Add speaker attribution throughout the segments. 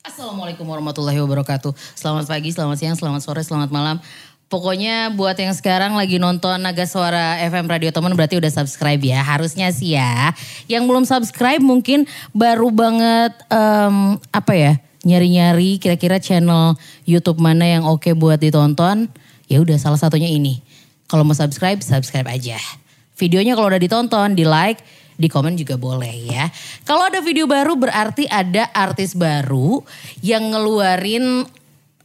Speaker 1: Assalamualaikum warahmatullahi wabarakatuh. Selamat pagi, selamat siang, selamat sore, selamat malam. Pokoknya buat yang sekarang lagi nonton Naga Suara FM Radio Teman berarti udah subscribe ya. Harusnya sih ya. Yang belum subscribe mungkin baru banget em, apa ya? Nyari-nyari kira-kira channel YouTube mana yang oke buat ditonton. Ya udah salah satunya ini. Kalau mau subscribe, subscribe aja. Videonya kalau udah ditonton, di like, di komen juga boleh ya. Kalau ada video baru berarti ada artis baru yang ngeluarin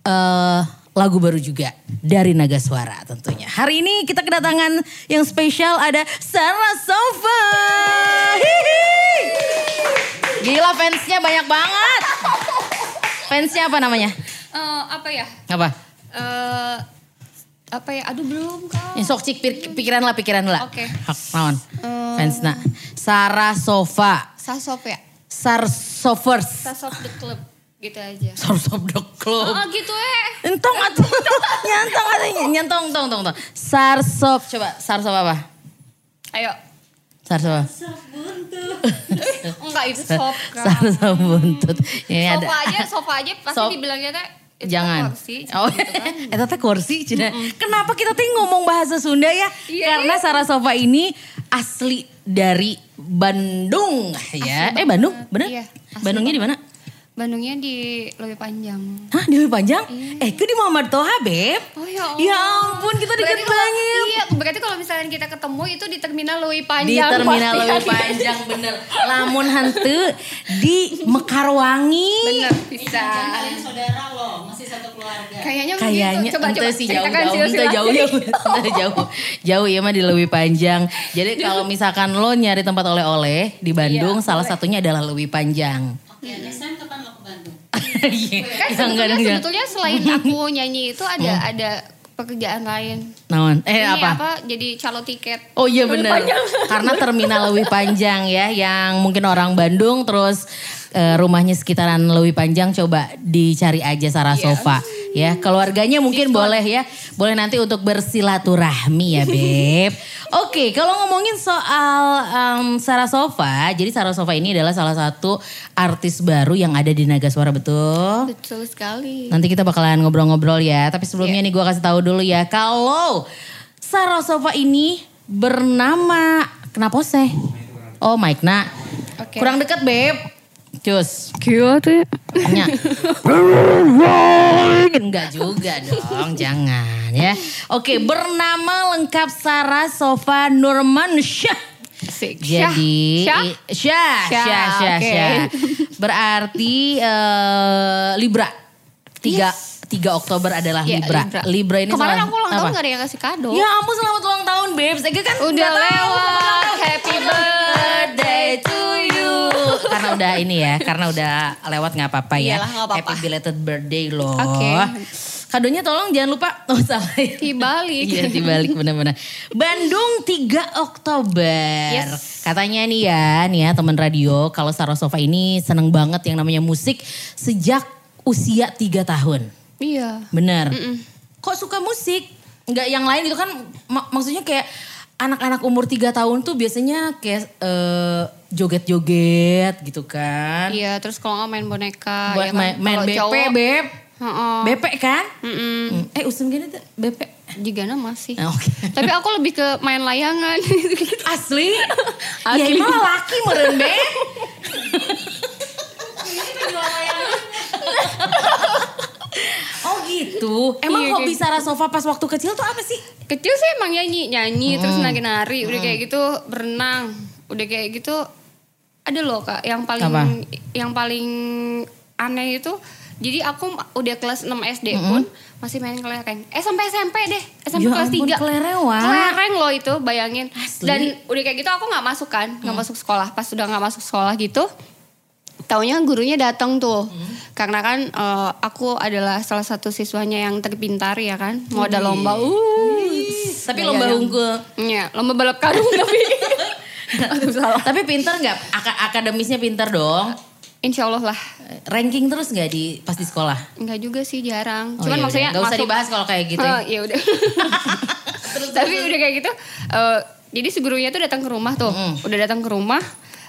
Speaker 1: eh, lagu baru juga dari Naga Suara tentunya. Hari ini kita kedatangan yang spesial ada Sarah Sofa. Hihi. Gila fansnya banyak banget. Fansnya apa namanya?
Speaker 2: Eh, apa ya?
Speaker 1: Apa?
Speaker 2: Eh apa ya? Aduh belum kak.
Speaker 1: Ya, sok cik pik- pikiran lah pikiran lah.
Speaker 2: Oke.
Speaker 1: Hak naon. Fansna. Sarah Sofa.
Speaker 2: Sasop ya?
Speaker 1: Sarsovers.
Speaker 2: Sasop the club gitu aja.
Speaker 1: Sarsov the club.
Speaker 2: Oh gitu eh.
Speaker 1: Entong atuh. Nyantong atuh. Nyantong, tong, tong, tong. Sarsov. Coba Sarsov apa?
Speaker 2: Ayo.
Speaker 1: Sarsov apa?
Speaker 2: Enggak itu sop kak.
Speaker 1: Sarsov buntut. Eh. Ini ada.
Speaker 2: Sofa aja, sofa aja pasti
Speaker 1: Sop.
Speaker 2: dibilangnya teh. itu
Speaker 1: Jangan.
Speaker 2: kursi,
Speaker 1: Oh,
Speaker 2: gitu kan.
Speaker 1: eta teh kursi cina. Kenapa kita teh ngomong bahasa Sunda ya?
Speaker 2: Iya,
Speaker 1: Karena Sarasova ini asli dari Bandung ya.
Speaker 2: Asli
Speaker 1: eh Bandung,
Speaker 2: banget.
Speaker 1: bener?
Speaker 2: Iya, asli
Speaker 1: Bandungnya di mana?
Speaker 2: Bandungnya di lebih panjang.
Speaker 1: Hah, di Lewi Panjang? Eh, itu di Muhammad Toha, Beb.
Speaker 2: Iya. Oh ya Allah.
Speaker 1: Ya ampun, kita deket
Speaker 2: Berarti kalau-
Speaker 1: banget.
Speaker 2: Iya, berarti kalau misalnya kita ketemu itu di terminal
Speaker 1: Di
Speaker 2: Lewi Panjang.
Speaker 1: terminal
Speaker 2: pasti
Speaker 1: Lewi
Speaker 2: ada.
Speaker 1: Panjang, bener. Lamun hantu di Mekarwangi.
Speaker 2: Bener, bisa.
Speaker 3: kalian saudara loh, masih satu keluarga.
Speaker 2: Kayaknya
Speaker 1: Iya. Kayaknya
Speaker 2: begitu. gitu. Coba
Speaker 1: ente
Speaker 2: coba
Speaker 1: sih
Speaker 2: ceritakan
Speaker 1: jauh-jauh, ente
Speaker 2: silsilah.
Speaker 1: jauh-jauh, ente jauh, jauh ya mah di Lewi Panjang. Jadi kalau misalkan lo nyari tempat oleh-oleh di Bandung,
Speaker 2: Iya,
Speaker 1: salah
Speaker 2: boleh.
Speaker 1: satunya adalah Lewi Panjang.
Speaker 3: Oke, next time kapan lo ke Bandung?
Speaker 1: Iya,
Speaker 2: kan
Speaker 1: yang enggak,
Speaker 2: sebetulnya,
Speaker 1: enggak.
Speaker 2: sebetulnya selain aku nyanyi itu ada ada pekerjaan lain.
Speaker 1: Naon? Eh
Speaker 2: Ini
Speaker 1: apa?
Speaker 2: Jadi calo tiket.
Speaker 1: Oh iya benar. Karena terminal lebih panjang ya yang mungkin orang Bandung terus eh, rumahnya sekitaran lebih panjang coba dicari aja Sarasova ya. Keluarganya mungkin boleh ya. Boleh nanti untuk bersilaturahmi ya, Beb. Oke, kalau ngomongin soal em, Sarasova, jadi Sarasova ini adalah salah satu artis baru yang ada di Naga Suara betul?
Speaker 2: Betul sekali.
Speaker 1: Nanti kita bakalan ngobrol-ngobrol ya. Tapi sebelumnya nih gue kasih tahu dulu ya. Kalau Sarasova ini bernama kenapa sih? Oh Mike Na.
Speaker 2: Oke.
Speaker 1: Kurang ya? dekat beb. Cus.
Speaker 2: Kyo tuh.
Speaker 1: Nya. Enggak juga dong, jangan ya. Oke, bernama lengkap Sarasova Nurmansyah. Jadi
Speaker 2: Syah.
Speaker 1: i- Syah, Syah,
Speaker 2: Syah,
Speaker 1: Syah, Syah,
Speaker 2: oke.
Speaker 1: Berarti eh, Libra. Tiga, tiga Oktober adalah
Speaker 2: Iya,
Speaker 1: Libra.
Speaker 2: Libra.
Speaker 1: Libra. ini
Speaker 2: Kemarin
Speaker 1: salah-
Speaker 2: aku ulang tahun
Speaker 1: apa?
Speaker 2: gak ada yang kasih kado.
Speaker 1: Ya ampun selamat ulang tahun Beb. Saya kan
Speaker 2: Udah
Speaker 1: nggak tahu.
Speaker 2: lewat. Happy birthday to you.
Speaker 1: Karena udah ini ya, karena udah lewat nggak apa-apa ya.
Speaker 2: Iyalah, nggak apa-apa.
Speaker 1: Happy belated birthday loh.
Speaker 2: Oke.
Speaker 1: Kadonya tolong jangan lupa. Oh salah. ya.
Speaker 2: Dibalik.
Speaker 1: Iya dibalik benar-benar. Bandung 3 Oktober.
Speaker 2: Yes.
Speaker 1: Katanya nih ya, nih ya teman radio kalau Sarasova ini seneng banget yang namanya musik sejak usia 3 tahun.
Speaker 2: Iya.
Speaker 1: Bener. Kok suka musik? Enggak yang lain gitu kan mak- maksudnya kayak anak-anak umur 3 tahun tuh biasanya kayak eh, joget-joget gitu kan.
Speaker 2: Iya, terus kalau nggak main boneka.
Speaker 1: Buat
Speaker 2: ya kan?
Speaker 1: main, main
Speaker 2: Kalau
Speaker 1: BP,
Speaker 2: cowok,
Speaker 1: Beb.
Speaker 2: Heeh.
Speaker 1: BP kan?
Speaker 2: Mm-mm.
Speaker 1: Hmm. Eh usum gini tuh BP.
Speaker 2: Jigana masih.
Speaker 1: Nah, oke.
Speaker 2: Tapi aku lebih ke main layangan.
Speaker 1: Asli? Ya
Speaker 2: Asli.
Speaker 1: emang laki meren Beb. Oh gitu. Emang
Speaker 2: Iya,
Speaker 1: hobi
Speaker 2: kayak
Speaker 1: Sarasova pas waktu kecil tuh apa sih?
Speaker 2: Kecil sih emang nyanyi, nyanyi terus
Speaker 1: Hmm.
Speaker 2: nari-nari, udah kayak gitu berenang, udah kayak gitu ada loh kak yang paling
Speaker 1: Apa?
Speaker 2: yang paling aneh itu. Jadi aku ma- udah kelas 6 SD pun masih main kelereng. Eh sampai SMP deh, SMP
Speaker 1: Hmm. Ya
Speaker 2: kelas
Speaker 1: ampun,
Speaker 2: 3.
Speaker 1: kelerewa.
Speaker 2: Kelereng loh itu, bayangin.
Speaker 1: Asli. Hmm.
Speaker 2: Dan udah kayak gitu aku nggak masuk kan, nggak masuk sekolah. Pas udah nggak masuk sekolah gitu, Taunya gurunya datang tuh.
Speaker 1: Hmm.
Speaker 2: Karena kan eh, aku adalah salah satu siswanya yang terpintar ya kan. Mau ada lomba. Uh.
Speaker 1: Tapi lomba unggul.
Speaker 2: Iya, lomba balap karung tapi. Aduh, salah.
Speaker 1: Tapi pinter nggak? Aka- akademisnya pinter dong.
Speaker 2: Insya Allah lah.
Speaker 1: Ranking terus nggak di pas di sekolah?
Speaker 2: Enggak juga sih jarang.
Speaker 1: Oh, ya
Speaker 2: Cuman
Speaker 1: udah.
Speaker 2: maksudnya
Speaker 1: Nggak usah
Speaker 2: masuk-
Speaker 1: dibahas kalau kayak gitu.
Speaker 2: Eh, ya udah. tapi udah kayak gitu. eh, jadi si gurunya tuh datang ke rumah tuh. Udah datang ke rumah.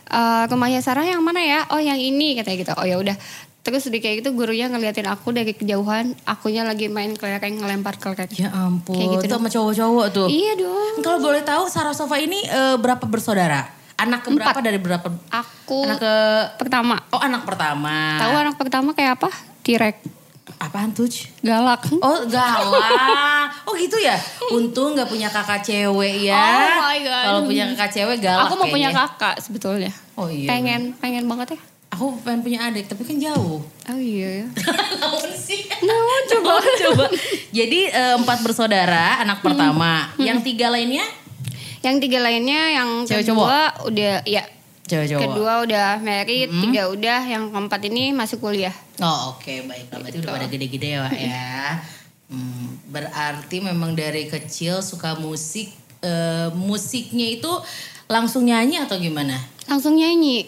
Speaker 2: eh rumahnya Sarah yang mana ya? Oh yang ini katanya gitu. Oh ya udah. Terus udah kayak gitu gurunya ngeliatin aku dari kejauhan, akunya lagi main kelereng ngelempar kelereng.
Speaker 1: Ya ampun,
Speaker 2: Kayak gitu
Speaker 1: itu
Speaker 2: dong.
Speaker 1: sama cowok-cowok tuh.
Speaker 2: Iya dong.
Speaker 1: Kalau boleh tahu Sarasova ini eh, berapa bersaudara? Anak keberapa
Speaker 2: Empat.
Speaker 1: dari berapa?
Speaker 2: Aku
Speaker 1: Anak ke Nah.
Speaker 2: pertama.
Speaker 1: Oh, anak pertama.
Speaker 2: Tahu anak pertama kayak apa? Tirek.
Speaker 1: Apaan tuh? Ci?
Speaker 2: Galak.
Speaker 1: Oh, galak. oh, gitu ya. Untung nggak punya kakak cewek ya.
Speaker 2: Oh my God.
Speaker 1: Kalau punya kakak cewek galak.
Speaker 2: aku mau punya
Speaker 1: kayaknya.
Speaker 2: kakak sebetulnya.
Speaker 1: Oh iya.
Speaker 2: Pengen, pengen banget ya.
Speaker 1: Aku pengen punya adik, tapi kan jauh.
Speaker 2: Oh iya ya.
Speaker 1: Namun sih.
Speaker 2: Nah, coba.
Speaker 1: Coba. Jadi eh, empat bersaudara, anak pertama. Yang tiga lainnya
Speaker 2: Yang tiga lainnya yang
Speaker 1: Cewek
Speaker 2: kedua udah ya.
Speaker 1: cowok-cowok.
Speaker 2: Kedua udah married,
Speaker 1: Hmm.
Speaker 2: tiga udah, yang keempat ini masih kuliah.
Speaker 1: Oh oke baiklah berarti
Speaker 2: Gitu.
Speaker 1: udah pada gede-gede ya Wak ya. Hmm, berarti memang dari kecil suka musik, eh, musiknya itu langsung nyanyi atau gimana?
Speaker 2: Langsung nyanyi.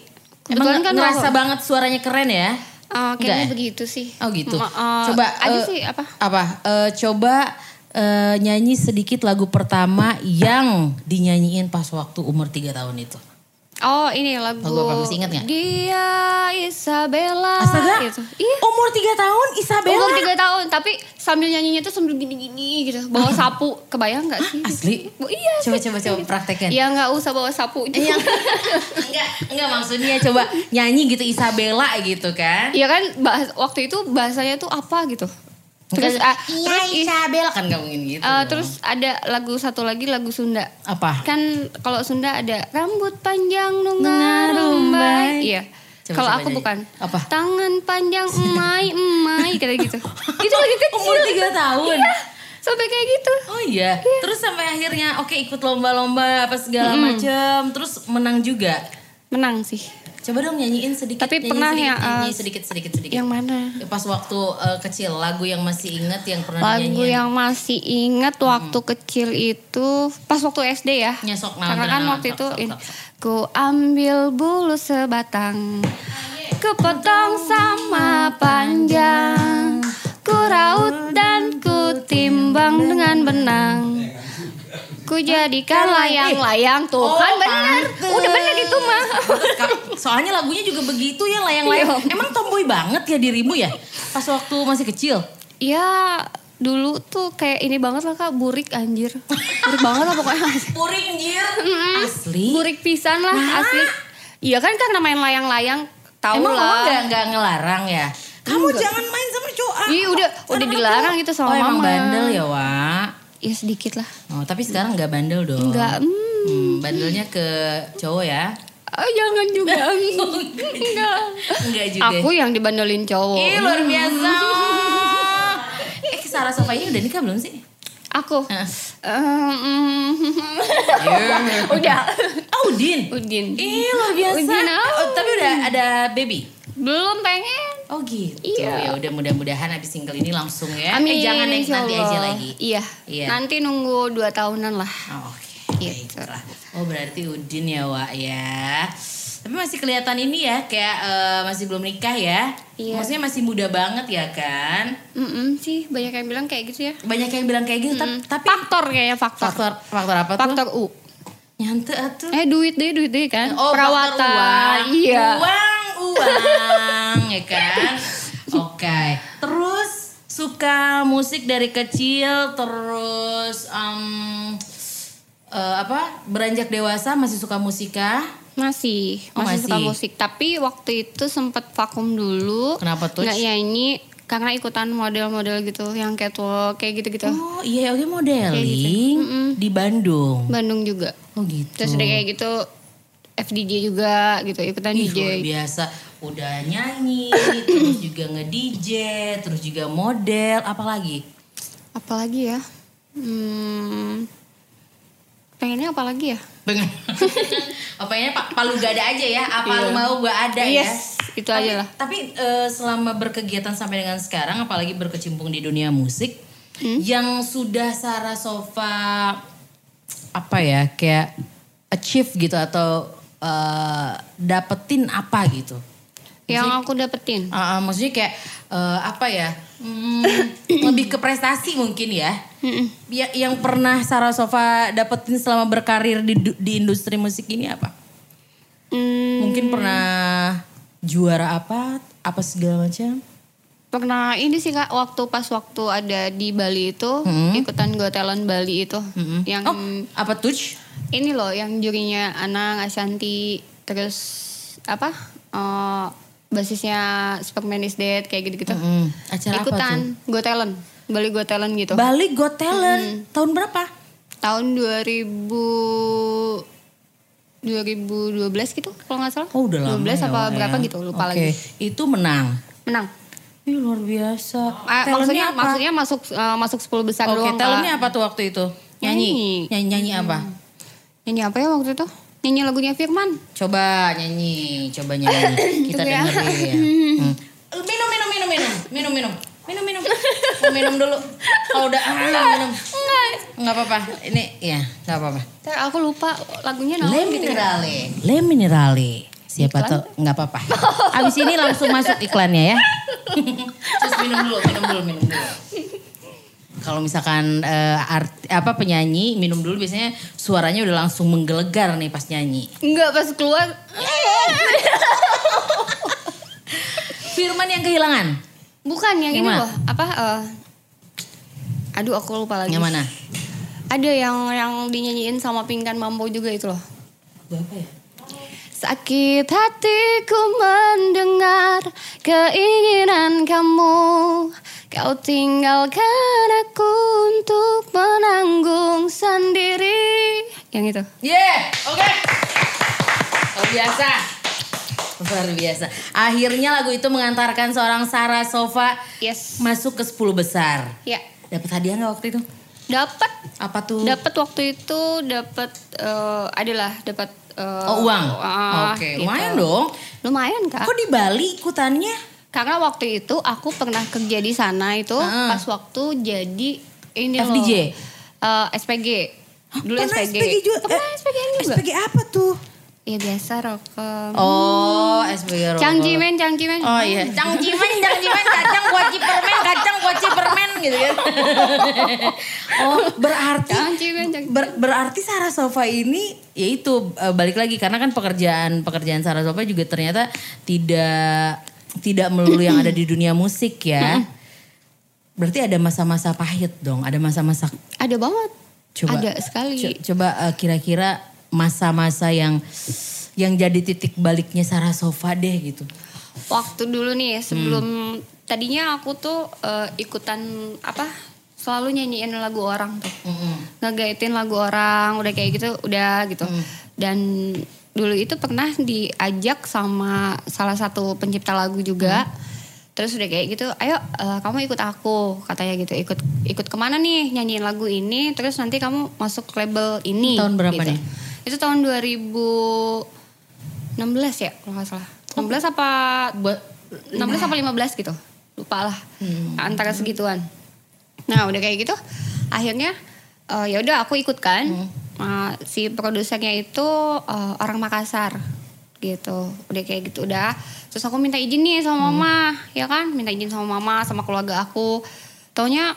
Speaker 1: Emang
Speaker 2: Kebetulan kan
Speaker 1: ngerasa
Speaker 2: kalau-
Speaker 1: banget suaranya keren ya?
Speaker 2: Eh,
Speaker 1: Enggak
Speaker 2: kayaknya
Speaker 1: ya?
Speaker 2: begitu sih.
Speaker 1: Oh gitu.
Speaker 2: Ma- eh,
Speaker 1: coba
Speaker 2: aja
Speaker 1: eh,
Speaker 2: sih apa?
Speaker 1: Apa? Eh, coba eh, nyanyi sedikit lagu pertama yang dinyanyiin pas waktu umur 3 tahun itu.
Speaker 2: Oh ini lagu.
Speaker 1: Lagu apa? Masih ingat nggak?
Speaker 2: Dia Isabella.
Speaker 1: Astaga.
Speaker 2: Gitu. Iya.
Speaker 1: Umur 3 tahun Isabella.
Speaker 2: Umur tiga tahun, tapi sambil nyanyinya tuh sambil gini-gini gitu, bawa sapu, kebayang nggak sih?
Speaker 1: Asli?
Speaker 2: Oh, iya.
Speaker 1: Coba coba coba praktekin.
Speaker 2: Ya nggak usah bawa sapu.
Speaker 1: kan? Iya. enggak, enggak maksudnya coba nyanyi gitu Isabella gitu kan.
Speaker 2: Iya kan bahas, waktu itu bahasanya tuh apa gitu. Terus ah,
Speaker 1: iya
Speaker 2: terus i-
Speaker 1: Isabella kan gak mungkin gitu.
Speaker 2: eh,
Speaker 1: dong.
Speaker 2: terus ada lagu satu lagi lagu Sunda.
Speaker 1: apa?
Speaker 2: Kan kalau Sunda ada rambut panjang
Speaker 1: Nunga
Speaker 2: nunga
Speaker 1: rumbai.
Speaker 2: rumbai. Iya.
Speaker 1: Coba,
Speaker 2: Kalau
Speaker 1: coba
Speaker 2: aku
Speaker 1: nyanyi.
Speaker 2: bukan.
Speaker 1: Apa?
Speaker 2: Tangan panjang emai emai kayak gitu. Itu lagi kecil.
Speaker 1: Umur 3 tahun.
Speaker 2: Iya, Sampai kayak gitu.
Speaker 1: Oh iya. Terus sampai akhirnya oke ikut lomba-lomba apa segala macem terus menang juga.
Speaker 2: Menang sih.
Speaker 1: Coba dong nyanyiin sedikit
Speaker 2: Tapi
Speaker 1: nyanyi
Speaker 2: pernah
Speaker 1: sedikit,
Speaker 2: ya,
Speaker 1: nyanyi
Speaker 2: eh,
Speaker 1: sedikit sedikit sedikit.
Speaker 2: Yang mana?
Speaker 1: Ya, Pas waktu eh, kecil lagu yang masih inget yang pernah
Speaker 2: Lagu
Speaker 1: dinyanyiin.
Speaker 2: yang masih ingat
Speaker 1: Hmm.
Speaker 2: waktu kecil itu pas waktu SD ya.
Speaker 1: Ya, sok, nah,
Speaker 2: Karena kan
Speaker 1: beneran,
Speaker 2: waktu
Speaker 1: sok,
Speaker 2: itu
Speaker 1: sok,
Speaker 2: ini,
Speaker 1: sok,
Speaker 2: ku ambil bulu sebatang, kepotong sama panjang, ku raut dan ku timbang dengan benang. Ku jadikan layang-layang tuh kan
Speaker 1: Kan, eh,
Speaker 2: bener,
Speaker 1: oh, pantes.
Speaker 2: udah bener itu mah.
Speaker 1: Ka- Soalnya lagunya juga begitu ya layang-layang.
Speaker 2: Iya.
Speaker 1: Emang tomboy banget ya dirimu ya? Pas waktu masih kecil.
Speaker 2: ya dulu tuh kayak ini banget lah kak, burik anjir, burik banget lah pokoknya.
Speaker 1: Puring anjir.
Speaker 2: Mm-mm.
Speaker 1: Asli.
Speaker 2: Burik pisan lah asli. Iya kan karena main layang-layang tahu
Speaker 1: Nah. Emang mama
Speaker 2: lah.
Speaker 1: gak, gak ngelarang ya? Kamu jangan main sama cowok.
Speaker 2: Ih, udah-
Speaker 1: Sama
Speaker 2: udah
Speaker 1: anak
Speaker 2: dilarang
Speaker 1: cowok.
Speaker 2: gitu sama
Speaker 1: oh, emang
Speaker 2: mama.
Speaker 1: bandel ya, Wak?
Speaker 2: Iya sedikit lah.
Speaker 1: Oh, tapi sekarang gak bandel dong.
Speaker 2: Enggak. mm.
Speaker 1: Hmm, bandelnya ke cowok ya?
Speaker 2: Ah, jangan juga. Mm. Enggak.
Speaker 1: Enggak juga.
Speaker 2: Aku yang dibandelin cowok. Mm.
Speaker 1: Ih, luar biasa. eh, Sarah Sofanya udah nikah belum sih?
Speaker 2: Aku.
Speaker 1: Hah.
Speaker 2: Eh, mm, Iya. udah.
Speaker 1: Oh, Udin.
Speaker 2: Udin.
Speaker 1: Ih, luar biasa.
Speaker 2: Udin, oh.
Speaker 1: Oh, tapi udah ada baby.
Speaker 2: Belum pengen.
Speaker 1: Oh gitu.
Speaker 2: Iya.
Speaker 1: Ya udah mudah-mudahan habis single ini langsung ya. Eh,
Speaker 2: Amin.
Speaker 1: jangan next
Speaker 2: insya
Speaker 1: nanti
Speaker 2: Allah.
Speaker 1: aja lagi.
Speaker 2: Iya.
Speaker 1: Iya.
Speaker 2: Nanti nunggu dua tahunan lah.
Speaker 1: Oh, Oke.
Speaker 2: Gitu.
Speaker 1: Baiklah. Oh berarti Udin ya Wak ya. Tapi masih kelihatan ini ya kayak eh, masih belum nikah ya.
Speaker 2: Iya.
Speaker 1: Maksudnya masih muda banget ya kan.
Speaker 2: Mm-mm sih banyak yang bilang kayak gitu ya.
Speaker 1: Banyak yang bilang kayak gitu tap- tapi
Speaker 2: Faktor kayaknya faktor.
Speaker 1: faktor faktor apa tuh?
Speaker 2: Faktor U.
Speaker 1: Nyante atuh.
Speaker 2: Eh duit deh, duit deh kan.
Speaker 1: Oh,
Speaker 2: Perawatan.
Speaker 1: faktor Uang.
Speaker 2: Iya.
Speaker 1: Uang, uang, ya kan? Oke. Terus suka musik dari kecil, terus em, eh, apa? Beranjak dewasa masih suka musika?
Speaker 2: Masih, masih,
Speaker 1: Oh,
Speaker 2: suka
Speaker 1: masih.
Speaker 2: musik. Tapi waktu itu sempet vakum dulu.
Speaker 1: Kenapa tuh?
Speaker 2: Nggak nyanyi karena ikutan model-model gitu yang catwalk kayak gitu-gitu.
Speaker 1: Oh iya, oke modeling di Bandung.
Speaker 2: Bandung juga.
Speaker 1: Oh gitu.
Speaker 2: Terus udah kayak gitu FDJ juga gitu, ikutan
Speaker 1: Ih,
Speaker 2: DJ.
Speaker 1: luar biasa udah nyanyi terus juga nge-DJ terus juga model apalagi
Speaker 2: Apalagi ya? Hmm, pengennya apalagi ya?
Speaker 1: Pengen. Apa ya Pak Palu gak ada aja ya? Apa lu mau gua ada
Speaker 2: Yes,
Speaker 1: ya?
Speaker 2: Iya. itu
Speaker 1: tapi,
Speaker 2: aja lah.
Speaker 1: Tapi eh, selama berkegiatan sampai dengan sekarang, apalagi berkecimpung di dunia musik, yang sudah Sarah Sofa apa ya kayak achieve gitu atau eh, dapetin apa gitu?
Speaker 2: Yang aku dapetin.
Speaker 1: Ah, ah, maksudnya kayak eh, apa ya? Hmm, lebih ke prestasi mungkin ya. Ya- yang pernah Sarah Sofa dapetin selama berkarir di du- di industri musik ini apa?
Speaker 2: Hmm,
Speaker 1: Mungkin pernah juara apa? apa segala macam?
Speaker 2: Pernah ini sih kak waktu pas waktu ada di Bali itu ikutan Got Talent Bali itu yang
Speaker 1: Hmm. oh, apa touch?
Speaker 2: ini loh yang jurinya Anang Ashanti terus apa eh, basisnya Superman is Dead kayak gitu-gitu
Speaker 1: Mm-mm. Acara apa
Speaker 2: ikutan Got Talent Bali Got Talent gitu
Speaker 1: tuh? Balik Got Talent tahun berapa?
Speaker 2: tahun 2000 2012 gitu kalau nggak salah
Speaker 1: Oh udah lama
Speaker 2: 12
Speaker 1: ya,
Speaker 2: apa
Speaker 1: Wak,
Speaker 2: berapa
Speaker 1: ya.
Speaker 2: gitu lupa
Speaker 1: Oke,
Speaker 2: lagi
Speaker 1: Itu menang.
Speaker 2: menang
Speaker 1: Ih luar biasa.
Speaker 2: Ah,
Speaker 1: Talentnya
Speaker 2: maksudnya
Speaker 1: apa?
Speaker 2: maksudnya masuk eh, masuk 10 besar
Speaker 1: Oke,
Speaker 2: doang Kak.
Speaker 1: talentnya apa tuh waktu itu? Nyanyi.
Speaker 2: Nyanyi.
Speaker 1: Nyanyi, nyanyi apa?
Speaker 2: Nyanyi apa ya waktu itu? Nyanyi lagunya Firman.
Speaker 1: Coba nyanyi, coba nyanyi. Kita
Speaker 2: Tunggu ya.
Speaker 1: dengerin. Hmm. Minum, minum, minum, minum, minum, minum, minum, minum, Mau minum dulu. Kalau udah ah, minum,
Speaker 2: Enggak.
Speaker 1: nggak apa-apa. Ini ya, nggak apa-apa.
Speaker 2: Ntar aku lupa lagunya
Speaker 1: Le
Speaker 2: namanya gitu.
Speaker 1: minerale, le minerale. Siapa
Speaker 2: Iklan?
Speaker 1: tahu nggak apa-apa. Abis ini langsung masuk iklannya ya. Terus minum dulu, minum dulu, minum dulu. Kalau misalkan eh, arti- apa penyanyi minum dulu biasanya suaranya udah langsung menggelegar nih pas nyanyi.
Speaker 2: Enggak pas keluar.
Speaker 1: Firman yang kehilangan.
Speaker 2: Bukan yang ini
Speaker 1: Yang mana?
Speaker 2: loh. Apa? eh, aduh aku lupa lagi.
Speaker 1: Yang mana?
Speaker 2: Ada yang yang dinyanyiin sama Pinkan Mambo juga itu loh.
Speaker 1: Berapa ya?
Speaker 2: Sakit hatiku mendengar keinginan kamu Kau tinggalkan aku untuk menanggung sendiri Yang itu
Speaker 1: Yeah, oke. Luar biasa. Luar biasa. Akhirnya lagu itu mengantarkan seorang Sarah Sofa
Speaker 2: Yes
Speaker 1: masuk ke 10 besar.
Speaker 2: Ya
Speaker 1: Dapat hadiah nggak waktu itu?
Speaker 2: Dapat,
Speaker 1: Apa tuh?
Speaker 2: dapat waktu itu dapat eh adalah dapat eh,
Speaker 1: oh, uang.
Speaker 2: ah,
Speaker 1: oke,
Speaker 2: gitu.
Speaker 1: lumayan dong.
Speaker 2: Lumayan kak.
Speaker 1: Kok di Bali ikutannya?
Speaker 2: Karena waktu itu aku pernah kerja di sana itu
Speaker 1: Heeh.
Speaker 2: pas waktu jadi ini
Speaker 1: FDJ?
Speaker 2: loh. eh, SPG. Dulu
Speaker 1: Pernah
Speaker 2: SPG.
Speaker 1: juga.
Speaker 2: Pernah
Speaker 1: Eh,
Speaker 2: SPG ini juga.
Speaker 1: SPG apa tuh?
Speaker 2: Iya biasa rokem.
Speaker 1: Oh, SPG Roro.
Speaker 2: Cangci men, cangci men. Hmm.
Speaker 1: Oh iya, cangci men, cangci men, kacang kuaci permen, kacang kuaci permen gitu kan. oh, berarti
Speaker 2: Cangci men, cangci.
Speaker 1: Ber- berarti Sarah Sofa ini yaitu eh, balik lagi karena kan pekerjaan pekerjaan Sarah Sofa juga ternyata tidak tidak melulu yang ada di dunia musik ya. Berarti ada masa-masa pahit dong, ada masa-masa
Speaker 2: Ada banget.
Speaker 1: coba
Speaker 2: Ada sekali.
Speaker 1: co- coba eh, kira-kira masa-masa yang yang jadi titik baliknya Sarah Sofa deh gitu.
Speaker 2: Waktu dulu nih
Speaker 1: Hmm.
Speaker 2: sebelum tadinya aku tuh eh, ikutan apa? Selalu nyanyiin lagu orang tuh. ngegaitin lagu orang udah kayak gitu udah gitu
Speaker 1: Hmm.
Speaker 2: dan dulu itu pernah diajak sama salah satu pencipta lagu juga
Speaker 1: Hmm.
Speaker 2: terus udah kayak gitu ayo eh, kamu ikut aku katanya gitu ikut ikut kemana nih nyanyiin lagu ini terus nanti kamu masuk label ini
Speaker 1: Tahun berapa
Speaker 2: gitu.
Speaker 1: nih?
Speaker 2: itu tahun 2016 ya kalau nggak salah 16 apa
Speaker 1: Buat
Speaker 2: 16 apa 15 gitu. Lupa lah. Antara segituan. Nah, udah kayak gitu akhirnya eh, ya udah aku ikut kan. Eh, si produsernya itu eh, orang Makassar gitu. Udah kayak gitu udah. Terus aku minta izin nih sama mama, ya kan? Minta izin sama mama sama keluarga aku. Taunya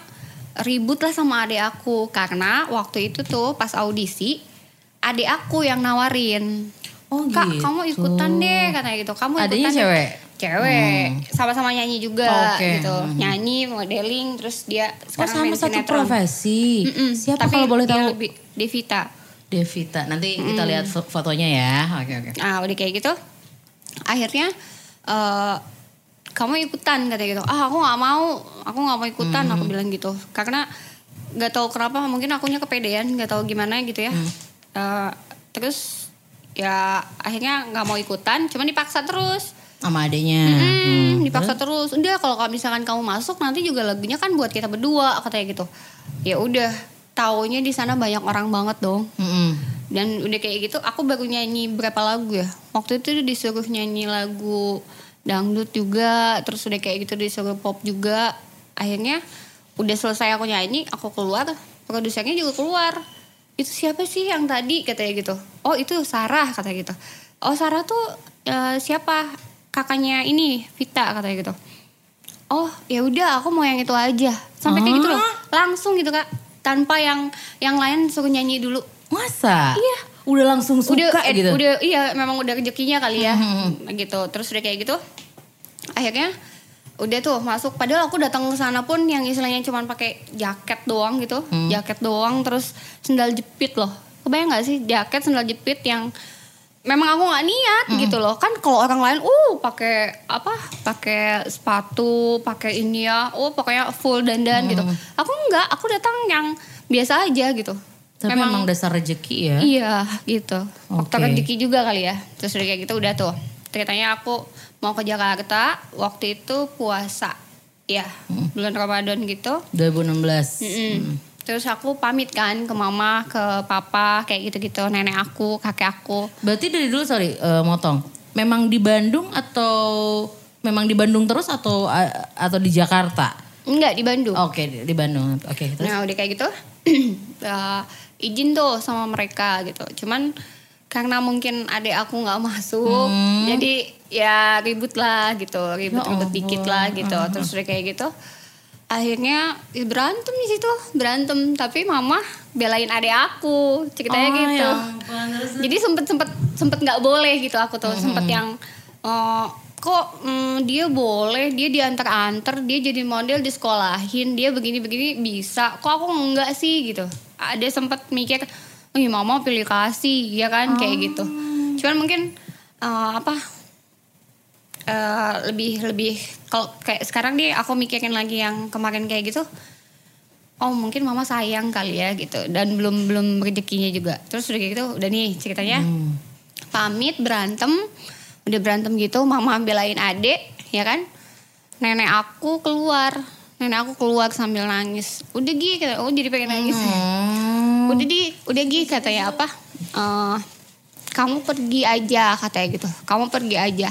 Speaker 2: ribut lah sama adik aku karena waktu itu tuh pas audisi adik aku yang nawarin.
Speaker 1: Oh, gitu.
Speaker 2: Kak, kamu ikutan deh katanya gitu. Kamu
Speaker 1: Adiknya
Speaker 2: ikutan deh."
Speaker 1: cewek? Hmm.
Speaker 2: Cewek. Sama-sama nyanyi juga
Speaker 1: Oke.
Speaker 2: gitu.
Speaker 1: Mhm.
Speaker 2: Nyanyi, modeling, terus dia
Speaker 1: Oh
Speaker 2: sekarang
Speaker 1: sama
Speaker 2: main
Speaker 1: satu
Speaker 2: sinetron.
Speaker 1: profesi.
Speaker 2: Mm-mm.
Speaker 1: Siapa
Speaker 2: Tapi
Speaker 1: kalau boleh
Speaker 2: dia
Speaker 1: tahu?
Speaker 2: Lebih Devita.
Speaker 1: Devita. Nanti kita lihat fo- fotonya ya. Oke oke.
Speaker 2: Ah, udah kayak gitu. Akhirnya eh, kamu ikutan kata gitu. Ah, aku nggak mau. Aku nggak mau ikutan, aku bilang gitu. Karena nggak tahu kenapa mungkin akunya kepedean, nggak tahu gimana gitu ya. Eh, terus ya akhirnya nggak mau ikutan, cuman dipaksa terus.
Speaker 1: Sama adanya.
Speaker 2: Hmm, dipaksa terus. Udah kalau kalau misalkan kamu masuk nanti juga lagunya kan buat kita berdua katanya gitu. Ya udah, taunya di sana banyak orang banget dong.
Speaker 1: Mm-mm.
Speaker 2: Dan udah kayak gitu, aku baru nyanyi berapa lagu ya. Waktu itu disuruh nyanyi lagu dangdut juga, terus udah kayak gitu disuruh pop juga. Akhirnya udah selesai aku nyanyi, aku keluar, produsernya juga keluar. Itu siapa sih yang tadi katanya gitu? Oh itu Sarah katanya gitu. Oh Sarah tuh eh, siapa? Kakaknya ini Vita katanya gitu. Oh ya udah aku mau yang itu aja. Sampai kayak gitu loh, langsung gitu kak. Tanpa yang yang lain suruh nyanyi dulu
Speaker 1: Masa?
Speaker 2: Iya.
Speaker 1: Udah langsung suka
Speaker 2: udah eh,
Speaker 1: gitu. Mm-hmm.
Speaker 2: udah iya memang udah rezekinya kali ya gitu terus udah kayak gitu akhirnya udah tuh masuk padahal aku datang ke sana pun yang istilahnya cuman pakai jaket doang gitu
Speaker 1: Mm.
Speaker 2: jaket doang terus sendal jepit loh kebayang nggak sih jaket sendal jepit yang memang aku nggak niat
Speaker 1: Mm-hmm.
Speaker 2: gitu loh kan kalau orang lain uh pakai apa pakai sepatu pakai ini ya oh pokoknya full dandan gitu
Speaker 1: Mm-hmm.
Speaker 2: aku nggak aku datang yang biasa aja gitu
Speaker 1: Tapi memang, dasar rejeki ya.
Speaker 2: Iya gitu.
Speaker 1: Oke.
Speaker 2: Faktor rezeki juga kali ya. Terus udah kayak gitu udah tuh. Ceritanya aku mau ke Jakarta waktu itu puasa. Ya bulan Ramadan gitu.
Speaker 1: 2016.
Speaker 2: Mm-mm. Terus aku pamit kan ke mama, ke papa, kayak gitu-gitu. Nenek aku, kakek aku.
Speaker 1: Berarti dari dulu sorry eh, motong. Memang di Bandung atau memang di Bandung terus atau a- atau di Jakarta?
Speaker 2: Enggak di Bandung.
Speaker 1: Oke di- di Bandung. Oke terus.
Speaker 2: Nah udah kayak gitu eh, izin tuh sama mereka gitu. Cuman karena mungkin adik aku nggak masuk, jadi ya ribut lah gitu, ribut-ribut dikit lah gitu. Terus udah kayak gitu, akhirnya ya berantem di situ, berantem. Tapi mama belain adik aku, ceritanya
Speaker 1: Oh,
Speaker 2: gitu.
Speaker 1: ya ampun, terus- Hmm.
Speaker 2: Jadi sempet sempet sempet nggak boleh gitu aku tuh, sempet yang eh, kok mm, dia boleh, dia diantar-antar, dia jadi model di sekolahin, dia begini-begini bisa, kok aku enggak sih gitu. Ada sempet mikir, ih mama pilih kasih, ya kan kayak gitu.
Speaker 1: Ah.
Speaker 2: Cuman mungkin eh, apa? eh, lebih lebih kalau kayak sekarang dia aku mikirin lagi yang kemarin kayak gitu oh mungkin mama sayang kali ya gitu dan belum belum rezekinya juga terus udah kayak gitu udah nih ceritanya pamit berantem udah berantem gitu mama belain adek ya kan nenek aku keluar nenek aku keluar sambil nangis udah gih kata oh jadi pengen nangis
Speaker 1: Hmm.
Speaker 2: udah di udah gih katanya apa Eh, kamu pergi aja katanya gitu kamu pergi aja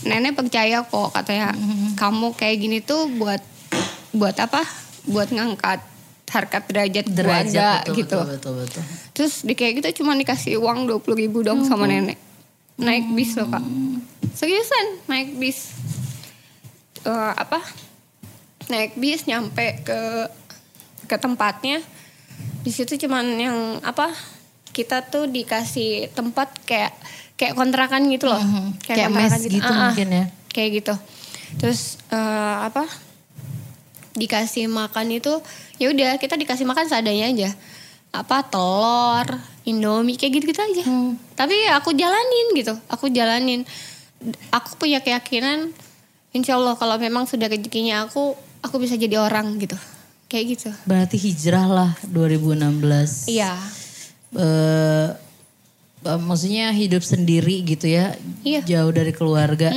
Speaker 2: nenek percaya kok katanya
Speaker 1: Mm-hmm.
Speaker 2: kamu kayak gini tuh buat buat apa buat ngangkat harkat derajat
Speaker 1: Derajat
Speaker 2: keluarga
Speaker 1: betul,
Speaker 2: gitu
Speaker 1: betul betul betul.
Speaker 2: terus di kayak gitu cuma dikasih uang dua puluh ribu dong sama
Speaker 1: Oh.
Speaker 2: nenek naik bis loh kak seriusan naik bis Eh, apa naik bis nyampe ke ke tempatnya di situ cuman yang apa kita tuh dikasih tempat kayak kayak kontrakan gitu loh
Speaker 1: Mm-hmm. Kayak
Speaker 2: kontrakan
Speaker 1: mes gitu
Speaker 2: Ah, ah.
Speaker 1: mungkin ya.
Speaker 2: kayak gitu terus eh, apa dikasih makan itu ya udah kita dikasih makan seadanya aja apa telur indomie kayak gitu gitu aja
Speaker 1: Hmm.
Speaker 2: tapi ya aku jalanin gitu aku jalanin D- aku punya keyakinan insya Allah kalau memang sudah rezekinya aku aku bisa jadi orang gitu kayak gitu
Speaker 1: Berarti hijrah lah 2016.
Speaker 2: iya
Speaker 1: Eh, eh, maksudnya hidup sendiri gitu ya.
Speaker 2: Iya.
Speaker 1: Jauh dari keluarga.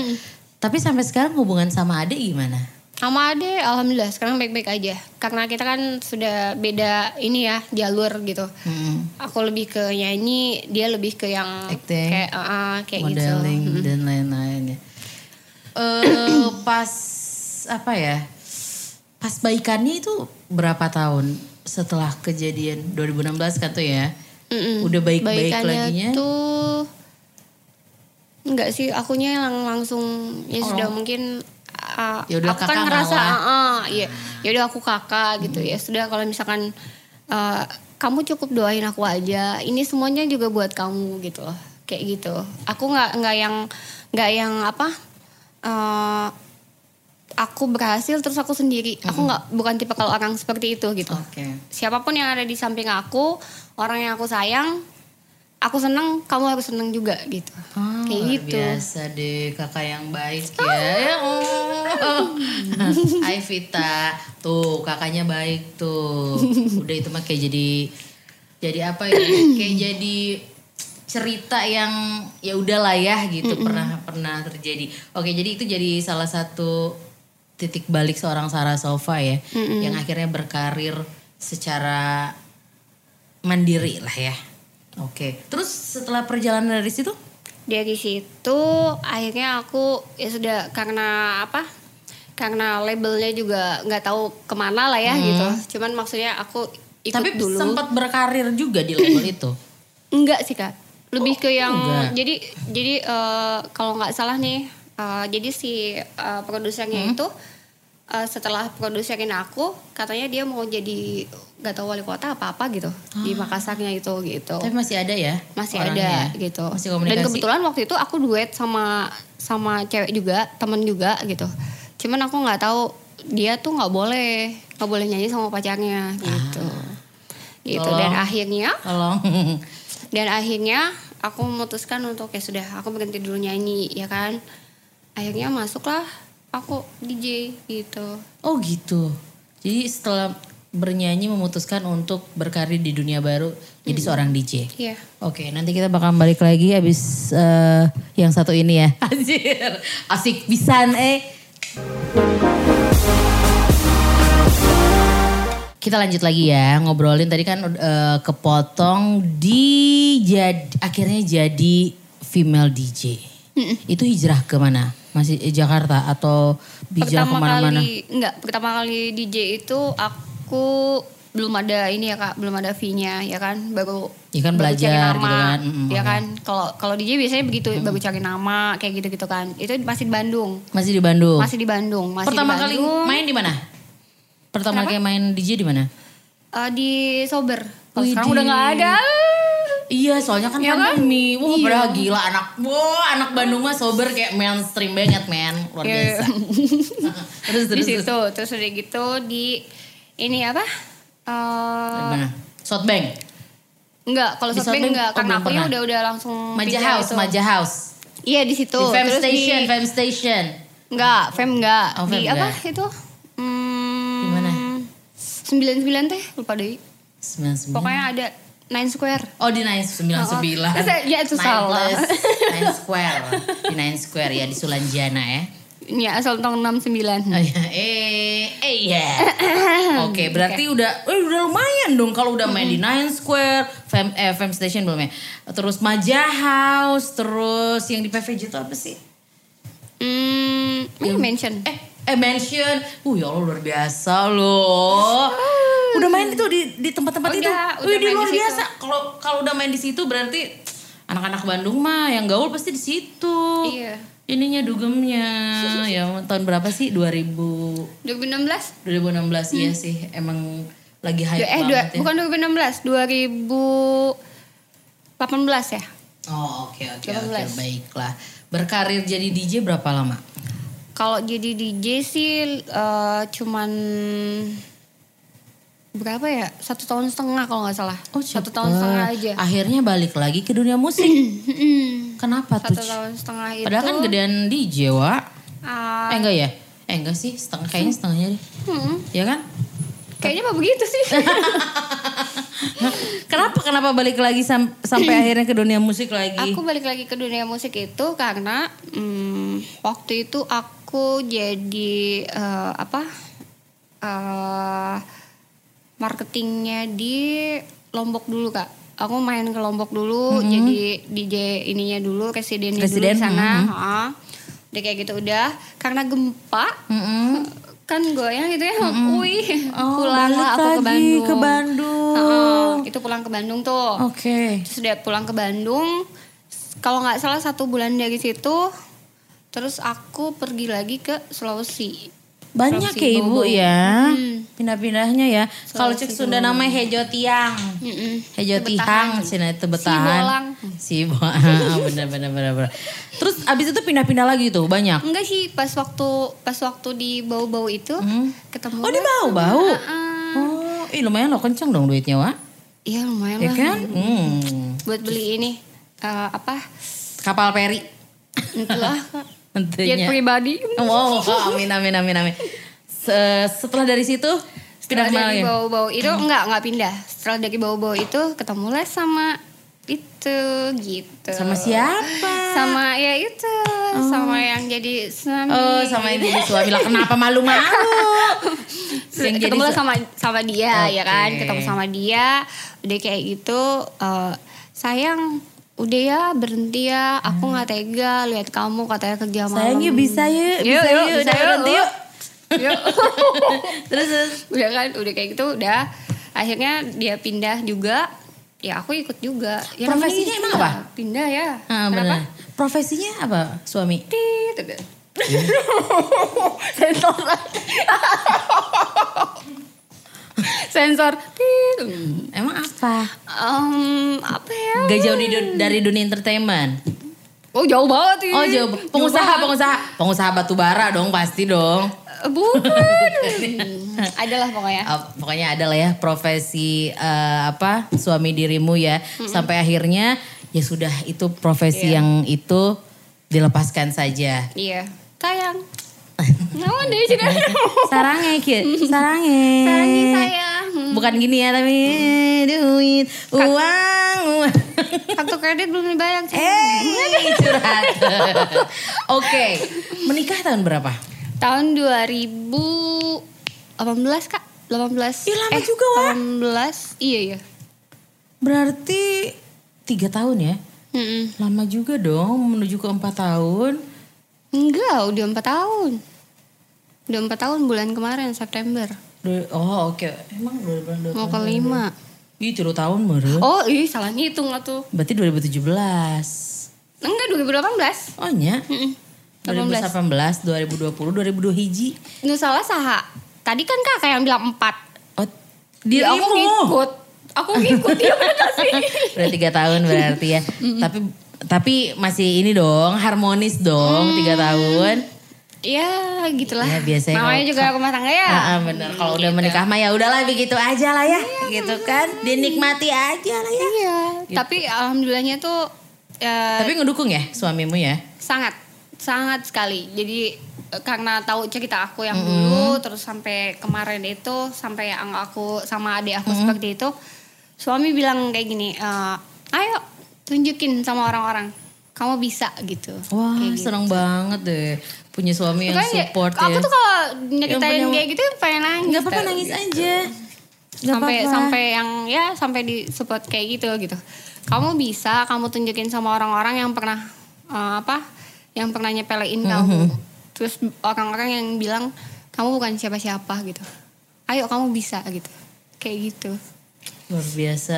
Speaker 1: Tapi sampai sekarang hubungan sama adik gimana?
Speaker 2: sama ade alhamdulillah sekarang baik-baik aja karena kita kan sudah beda ini ya jalur gitu
Speaker 1: Hmm.
Speaker 2: aku lebih ke nyanyi dia lebih ke yang
Speaker 1: Acting.
Speaker 2: kayak eh, eh, kayak
Speaker 1: modeling
Speaker 2: gitu
Speaker 1: dan lain-lain ya. Eh, pas apa ya? Pas baikannya itu berapa tahun setelah kejadian 2016 kan tuh ya?
Speaker 2: Mm-mm.
Speaker 1: Udah baik-baik
Speaker 2: Baikannya
Speaker 1: laginya?
Speaker 2: tuh enggak sih akunya yang langsung ya sudah mungkin uh,
Speaker 1: Yaudah, Oh. Ya
Speaker 2: aku
Speaker 1: kakak
Speaker 2: kan ngerasa
Speaker 1: ngalah.
Speaker 2: "Ah, ah, ya yaudah aku kakak gitu ya sudah kalau misalkan uh, kamu cukup doain aku aja ini semuanya juga buat kamu gitu loh kayak gitu aku nggak nggak yang nggak yang apa uh, aku berhasil terus aku sendiri aku nggak bukan tipe kalau orang seperti itu gitu
Speaker 1: Oke.
Speaker 2: siapapun yang ada di samping aku, orang yang aku sayang, aku seneng, kamu harus seneng juga gitu.
Speaker 1: Ah,
Speaker 2: Kayak
Speaker 1: luar
Speaker 2: gitu.
Speaker 1: biasa deh kakak yang baik ya. Ya, oh. Hai Vita, tuh kakaknya baik tuh. Udah itu mah kayak jadi jadi apa ya? Kayak jadi cerita yang ya udah layah gitu pernah pernah terjadi. Oke, jadi itu jadi salah satu titik balik seorang Sarah Sofa ya yang akhirnya berkarir secara mandiri lah ya. Oke, terus setelah perjalanan dari situ
Speaker 2: Dari situ akhirnya aku ya sudah karena apa? Karena labelnya juga nggak tahu kemana lah ya gitu. Cuman maksudnya aku ikut
Speaker 1: Hmm. Tapi
Speaker 2: dulu.
Speaker 1: sempat berkarir juga di label itu.
Speaker 2: Enggak sih kak, lebih ke yang
Speaker 1: Oh, enggak.
Speaker 2: jadi jadi eh, kalau nggak salah nih, eh, jadi si eh,
Speaker 1: Hmm?
Speaker 2: produsernya itu eh, setelah produserin aku, katanya dia mau jadi nggak tahu wali kota apa apa gitu di Makassarnya itu gitu
Speaker 1: Ah. Tapi masih ada ya?
Speaker 2: masih
Speaker 1: orangnya
Speaker 2: ada
Speaker 1: ya?
Speaker 2: gitu
Speaker 1: Masih
Speaker 2: dan
Speaker 1: komunikasi.
Speaker 2: kebetulan waktu itu aku duet sama sama cewek juga temen juga gitu cuman aku nggak tahu dia tuh nggak boleh nggak boleh nyanyi sama pacarnya gitu
Speaker 1: Ah.
Speaker 2: gitu dan
Speaker 1: Tolong.
Speaker 2: akhirnya
Speaker 1: Tolong.
Speaker 2: dan akhirnya aku memutuskan untuk ya sudah aku berhenti dulu nyanyi ya kan akhirnya masuklah aku DJ gitu
Speaker 1: Oh gitu. Jadi setelah bernyanyi memutuskan untuk berkarir di dunia baru jadi seorang DJ.
Speaker 2: iya
Speaker 1: Oke, nanti kita bakal balik lagi abis eh, yang satu ini ya. Anjir, asik pisan eh. Kita lanjut lagi ya ngobrolin tadi kan eh, kepotong di jad- akhirnya jadi female DJ. Itu hijrah ke mana? Masih eh, Jakarta atau hijrah
Speaker 2: pertama
Speaker 1: kemana-mana?
Speaker 2: kali enggak pertama kali DJ itu aku belum ada ini ya kak belum ada fee-nya ya kan baru
Speaker 1: Ya kan,
Speaker 2: baru cari
Speaker 1: belajar
Speaker 2: nama
Speaker 1: gitu kan. Mm-mm,
Speaker 2: ya
Speaker 1: oke.
Speaker 2: kan kalau kalau DJ biasanya begitu baru cari nama kayak gitu gitu kan itu masih di Bandung
Speaker 1: Masih di Bandung.
Speaker 2: masih di Bandung
Speaker 1: Oh.
Speaker 2: masih
Speaker 1: Pertama
Speaker 2: di
Speaker 1: kali
Speaker 2: Bandung,
Speaker 1: main di mana? Pertama
Speaker 2: Kenapa?
Speaker 1: kali main DJ di mana?
Speaker 2: eh, di Sober kalau
Speaker 1: Wih,
Speaker 2: sekarang
Speaker 1: di-
Speaker 2: udah nggak ada
Speaker 1: Iya, soalnya kan
Speaker 2: Iya kan?
Speaker 1: pandemi. Wah,
Speaker 2: Iya.
Speaker 1: padahal gila anak. Wah, anak Bandung mah sober kayak mainstream banget, men. Luar
Speaker 2: Iya.
Speaker 1: biasa. terus,
Speaker 2: di
Speaker 1: terus, terus.
Speaker 2: situ terus udah gitu di ini apa
Speaker 1: Di
Speaker 2: Eh
Speaker 1: mana? Softbank.
Speaker 2: enggak kalau
Speaker 1: Nah, Di
Speaker 2: Softbank
Speaker 1: Softbank?
Speaker 2: enggak
Speaker 1: Oh,
Speaker 2: karena
Speaker 1: belum
Speaker 2: aku
Speaker 1: pernah.
Speaker 2: udah udah langsung
Speaker 1: Maja
Speaker 2: Oh, pindah
Speaker 1: House,
Speaker 2: itu.
Speaker 1: Maja House.
Speaker 2: Iya di situ.
Speaker 1: di Fem
Speaker 2: Terus
Speaker 1: Station,
Speaker 2: di-
Speaker 1: Fem Station.
Speaker 2: Enggak, fam enggak.
Speaker 1: Oh,
Speaker 2: di
Speaker 1: Fem
Speaker 2: apa
Speaker 1: enggak.
Speaker 2: itu? Hmm,
Speaker 1: Di mana?
Speaker 2: 99 teh, lupa deh.
Speaker 1: 99.
Speaker 2: Pokoknya ada Nine Square.
Speaker 1: Oh di Nine sembilan sembilan.
Speaker 2: Terus saya- ya, itu salah.
Speaker 1: Nine Square, di Nine Square ya di Sulanjana ya.
Speaker 2: Ya, asal tong 69.
Speaker 1: Oh, iya. Eh, eh ya. Oke, berarti udah, eh, udah lumayan dong kalau udah main di Nine Square, Fem, eh, Fem Station belum ya. Terus Maja House, terus yang di PVJ itu apa sih?
Speaker 2: Hmm, ini mention.
Speaker 1: Eh, eh Mansion. Uh, ya Allah luar biasa loh. Udah main itu di di tempat-tempat
Speaker 2: Udah,
Speaker 1: itu.
Speaker 2: udah
Speaker 1: Wih, di
Speaker 2: main di
Speaker 1: luar
Speaker 2: situ.
Speaker 1: biasa. Kalau kalau udah main di situ berarti anak-anak Bandung mah yang gaul pasti di situ.
Speaker 2: Iya.
Speaker 1: Ininya dugemnya. ya tahun berapa sih? 2000
Speaker 2: 2016?
Speaker 1: 2016 iya sih emang lagi hype
Speaker 2: eh, Hmm. dua,
Speaker 1: banget ya.
Speaker 2: bukan 2016, 2018 ya.
Speaker 1: Oh oke oke oke
Speaker 2: 18.
Speaker 1: baiklah. Berkarir jadi DJ berapa lama?
Speaker 2: Kalau jadi DJ sih eh, cuman berapa ya? Satu tahun setengah kalau nggak salah. Satu
Speaker 1: Oh,
Speaker 2: tahun
Speaker 1: cepet.
Speaker 2: setengah aja.
Speaker 1: Eh,
Speaker 2: Hmm.
Speaker 1: Akhirnya balik lagi ke dunia musik. Kenapa
Speaker 2: Satu
Speaker 1: tuh? Ci?
Speaker 2: tahun setengah itu.
Speaker 1: Padahal kan gedean DJ, Wak.
Speaker 2: ah,
Speaker 1: Eh enggak ya? Eh enggak sih, setengah kayaknya setengahnya deh.
Speaker 2: hmm,
Speaker 1: Ya kan?
Speaker 2: kayaknya mah begitu sih.
Speaker 1: Kenapa kenapa balik lagi sam- sampai akhirnya ke dunia musik lagi?
Speaker 2: aku balik lagi ke dunia musik itu karena hmm, waktu itu aku jadi eh, apa? eh marketingnya di Lombok dulu kak. Aku main ke Lombok dulu, jadi DJ ininya dulu, residennya
Speaker 1: Mm-hmm. Residen, mm-hmm.
Speaker 2: dulu di sana. ha. Udah kayak gitu udah. Karena gempa,
Speaker 1: Mm-mm.
Speaker 2: kan goyang gitu ya. Wih,
Speaker 1: Oh,
Speaker 2: pulanglah
Speaker 1: balik
Speaker 2: aku
Speaker 1: lagi
Speaker 2: ke Bandung.
Speaker 1: ke Bandung.
Speaker 2: Heeh, itu pulang ke Bandung tuh.
Speaker 1: Oke.
Speaker 2: Terus dia pulang ke Bandung. s- Kalau nggak salah satu bulan dari situ, terus aku pergi lagi ke Sulawesi.
Speaker 1: Banyak ya
Speaker 2: Provinsi
Speaker 1: ibu
Speaker 2: Bobo.
Speaker 1: ya
Speaker 2: Hmm.
Speaker 1: pindah-pindahnya ya. Kalau cek
Speaker 2: Provinsi
Speaker 1: Sunda namanya Hejo Tiang.
Speaker 2: Mm-mm.
Speaker 1: Hejo
Speaker 2: Tebetahan.
Speaker 1: Tihang, Cina itu
Speaker 2: Sibolang.
Speaker 1: betahan. Si bener bener bener bener. Terus abis itu pindah-pindah lagi tuh banyak.
Speaker 2: Enggak sih, pas waktu pas waktu di bau-bau itu ketemu.
Speaker 1: Oh di bau bau.
Speaker 2: Heeh.
Speaker 1: Oh, ih lumayan loh kenceng dong duitnya Wak.
Speaker 2: Iya lumayan
Speaker 1: Ya
Speaker 2: lah.
Speaker 1: kan? Hmm.
Speaker 2: Buat beli ini eh, apa?
Speaker 1: Kapal peri.
Speaker 2: Itulah jet
Speaker 1: Tentunya.
Speaker 2: pribadi.
Speaker 1: Wow, amin amin amin amin. Se- Setelah dari situ pindah
Speaker 2: Setelah
Speaker 1: kemana lagi?
Speaker 2: dari bau-bau itu
Speaker 1: Hmm.
Speaker 2: enggak enggak pindah. Setelah dari bau-bau itu ketemulah sama itu gitu.
Speaker 1: Sama siapa?
Speaker 2: sama ya itu sama yang jadi suami
Speaker 1: Oh, sama yang jadi suami lah. Kenapa malu-malu? Yang jadi
Speaker 2: ketemu
Speaker 1: su-
Speaker 2: sama sama dia ya kan
Speaker 1: Oke.
Speaker 2: ketemu sama dia udah kayak gitu eh, sayang udah ya berhenti ya aku
Speaker 1: Hmm.
Speaker 2: nggak tega lihat kamu katanya kerja malam
Speaker 1: Sayang yuk bisa yuk,
Speaker 2: Yuk,
Speaker 1: bisa
Speaker 2: yuk,
Speaker 1: yuk,
Speaker 2: bisa
Speaker 1: udah
Speaker 2: yuk.
Speaker 1: berhenti yuk.
Speaker 2: Yuk.
Speaker 1: Terus, terus.
Speaker 2: udah kan udah kayak gitu udah akhirnya dia pindah juga ya aku ikut juga ya, namanya
Speaker 1: Profesinya
Speaker 2: gitu
Speaker 1: emang
Speaker 2: lah.
Speaker 1: apa?
Speaker 2: pindah ya
Speaker 1: Ah, benar. Profesinya apa suami?
Speaker 2: Tit, gitu. sensor. Tit.
Speaker 1: Emang apa?
Speaker 2: Em, apa ya?
Speaker 1: Hmm. Gak jauh di dun- dari dunia entertainment.
Speaker 2: Oh jauh banget ini.
Speaker 1: Oh jauh. Pengusaha,
Speaker 2: banget.
Speaker 1: pengusaha. Pengusaha batu bara dong pasti dong.
Speaker 2: Eh, Bukan. Hmm, Adalah pokoknya.
Speaker 1: Ah, pokoknya ada lah ya profesi eh, apa suami dirimu ya. Sampai akhirnya ya sudah itu profesi
Speaker 2: Hmm. Iya.
Speaker 1: yang itu dilepaskan saja.
Speaker 2: Iya. Sayang. Namun deh sudah.
Speaker 1: Sarange
Speaker 2: Hmm.
Speaker 1: kid, sarange.
Speaker 2: Sayangnya sayang. Hmm.
Speaker 1: Bukan gini ya tapi duit, uang, uang.
Speaker 2: Kartu kredit belum dibayar. Cik.
Speaker 1: Eh, curhat. Oke, menikah tahun berapa?
Speaker 2: Tahun 2018 kak. 18.
Speaker 1: Ih, lama juga, Wak.
Speaker 2: 18. Iya iya.
Speaker 1: Berarti tiga tahun ya?
Speaker 2: Mm-mm.
Speaker 1: Lama juga dong, menuju ke empat tahun.
Speaker 2: Enggak, udah empat tahun. Udah empat tahun bulan kemarin September.
Speaker 1: Du- Oh oke, emang dua bulan dua
Speaker 2: Mau
Speaker 1: tahun.
Speaker 2: kelima.
Speaker 1: Ih, tiga tahun baru.
Speaker 2: Oh, ih salah ngitung lah tuh.
Speaker 1: Berarti 2017.
Speaker 2: Enggak, 2018.
Speaker 1: Oh nya?
Speaker 2: Mm-mm.
Speaker 1: 2018,
Speaker 2: 18.
Speaker 1: 2020, 2002 hiji.
Speaker 2: Nggak salah saha. Tadi kan kakak yang bilang empat.
Speaker 1: Oh,
Speaker 2: Ya, aku
Speaker 1: dirimu.
Speaker 2: ngikut. Aku ngikut ya bener sih.
Speaker 1: Udah tiga tahun berarti ya. tapi tapi masih ini dong, harmonis dong tiga tahun.
Speaker 2: Ya gitulah.
Speaker 1: Ya, biasanya
Speaker 2: Namanya
Speaker 1: kalau-
Speaker 2: juga rumah tangga ya. Gitu.
Speaker 1: Ah, ah, bener. Kalau udah menikah mah ya udahlah begitu aja lah ya, gitu kan. Dinikmati aja lah ya.
Speaker 2: Iya. Tapi alhamdulillahnya tuh ya,
Speaker 1: Tapi ngedukung ya suamimu ya.
Speaker 2: sangat sangat sekali. Jadi eh, karena tahu cerita aku yang dulu terus sampai kemarin itu sampai yang aku sama adik aku seperti itu suami bilang kayak gini, eh, "Ayo tunjukin sama orang-orang kamu bisa gitu."
Speaker 1: Wah,
Speaker 2: Kayak gitu.
Speaker 1: seneng banget deh punya suami yang
Speaker 2: Makanya,
Speaker 1: support
Speaker 2: aku
Speaker 1: ya. Gitu.
Speaker 2: tuh kalau nyakitain
Speaker 1: punya-
Speaker 2: kayak gitu pengen nangis.
Speaker 1: Gak apa-apa
Speaker 2: tau.
Speaker 1: nangis aja. Gak
Speaker 2: sampai
Speaker 1: apa-apa.
Speaker 2: sampai yang ya sampai di support kayak gitu gitu. Kamu bisa, kamu tunjukin sama orang-orang yang pernah eh, apa? Yang pernah nyepelein
Speaker 1: Hmm,
Speaker 2: kamu. Terus orang-orang yang bilang kamu bukan siapa-siapa gitu. Ayo kamu bisa gitu. Kayak gitu.
Speaker 1: luar biasa.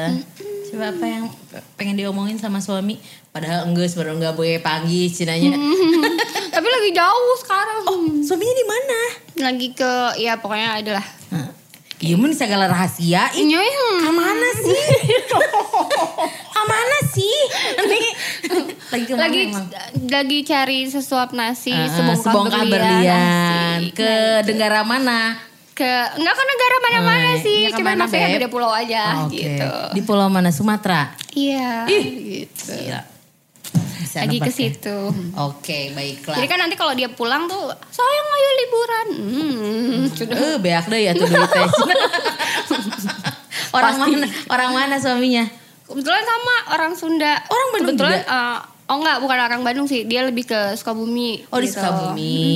Speaker 1: Coba apa yang pengen diomongin sama suami? Padahal enggak baru enggak boleh pagi cinanya.
Speaker 2: Tapi lagi jauh sekarang.
Speaker 1: Oh. Suaminya di mana?
Speaker 2: Lagi ke ya pokoknya adalah. hmm.
Speaker 1: Nah, Iya mun segala rahasia. Ih,
Speaker 2: Nyoy.
Speaker 1: Kemana sih? Kemana sih? lagi kemana
Speaker 2: lagi
Speaker 1: emang?
Speaker 2: lagi cari sesuap nasi
Speaker 1: Ah, ah,
Speaker 2: sebongkah,
Speaker 1: sebongkah berlian,
Speaker 2: Ah,
Speaker 1: ke
Speaker 2: Nah, gitu.
Speaker 1: negara mana?
Speaker 2: ke enggak ke negara mana-mana
Speaker 1: Ah, iya,
Speaker 2: sih
Speaker 1: ke
Speaker 2: cuma
Speaker 1: mana,
Speaker 2: maksudnya
Speaker 1: Beb?
Speaker 2: beda pulau aja
Speaker 1: Ah, oke.
Speaker 2: gitu
Speaker 1: Di pulau mana? Sumatera.
Speaker 2: iya
Speaker 1: Ih.
Speaker 2: gitu
Speaker 1: Gila. Bisa
Speaker 2: lagi
Speaker 1: nebak
Speaker 2: ke
Speaker 1: ya.
Speaker 2: situ
Speaker 1: Oke, baiklah.
Speaker 2: jadi kan nanti kalau dia pulang tuh sayang ayo liburan hmm, sudah
Speaker 1: Eh, beak deh ya tuh duit teh. orang mana? Orang mana suaminya?
Speaker 2: kebetulan sama orang Sunda
Speaker 1: Orang Bandung
Speaker 2: kebetulan eh, oh enggak bukan orang Bandung sih dia lebih ke Sukabumi
Speaker 1: Oh, di
Speaker 2: gitu.
Speaker 1: Sukabumi.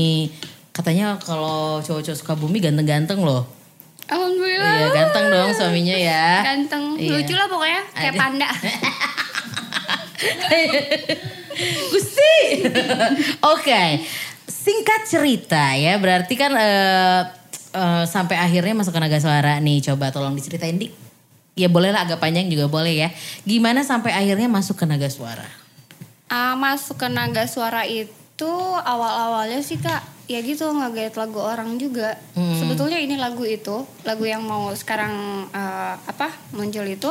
Speaker 1: Katanya kalau cowok-cowok Sukabumi ganteng-ganteng loh.
Speaker 2: alhamdulillah
Speaker 1: Iya, ganteng dong suaminya ya.
Speaker 2: Ah. ganteng
Speaker 1: Iya.
Speaker 2: lucu lah pokoknya kayak
Speaker 1: Ada.
Speaker 2: panda
Speaker 1: Gusti. Oke. Singkat cerita ya, berarti kan eh, eh, sampai akhirnya masuk ke naga suara nih. Coba tolong diceritain dik. Ya boleh lah agak panjang juga boleh ya. Gimana sampai akhirnya masuk ke naga suara?
Speaker 2: Ah, masuk ke naga suara itu awal-awalnya sih kak ya gitu ngegait lagu orang juga
Speaker 1: Hmm.
Speaker 2: sebetulnya ini lagu itu lagu yang mau sekarang eh, apa muncul itu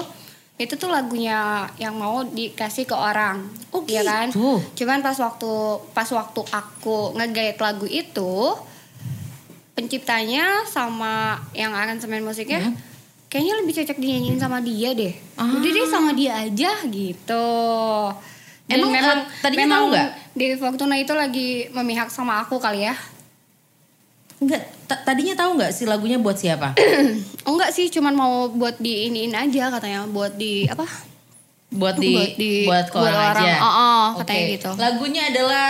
Speaker 2: itu tuh lagunya yang mau dikasih ke orang
Speaker 1: Oh,
Speaker 2: ya kan
Speaker 1: gitu.
Speaker 2: cuman pas waktu pas waktu aku ngegait lagu itu penciptanya sama yang aransemen musiknya kayaknya lebih cocok dinyanyiin sama dia deh jadi deh sama dia aja gitu Dan
Speaker 1: Emang,
Speaker 2: memang
Speaker 1: eh, tadinya
Speaker 2: memang
Speaker 1: tahu nggak?
Speaker 2: Dewi Fortuna itu lagi memihak sama aku kali ya
Speaker 1: Enggak, ta- tadinya tahu nggak si lagunya buat siapa?
Speaker 2: oh, enggak sih cuman mau buat diiniin aja katanya buat di apa
Speaker 1: buat di buat,
Speaker 2: Buat di-
Speaker 1: ke
Speaker 2: buat
Speaker 1: orang,
Speaker 2: orang.
Speaker 1: aja.
Speaker 2: Oh, oh, katanya
Speaker 1: Oke.
Speaker 2: gitu.
Speaker 1: Lagunya adalah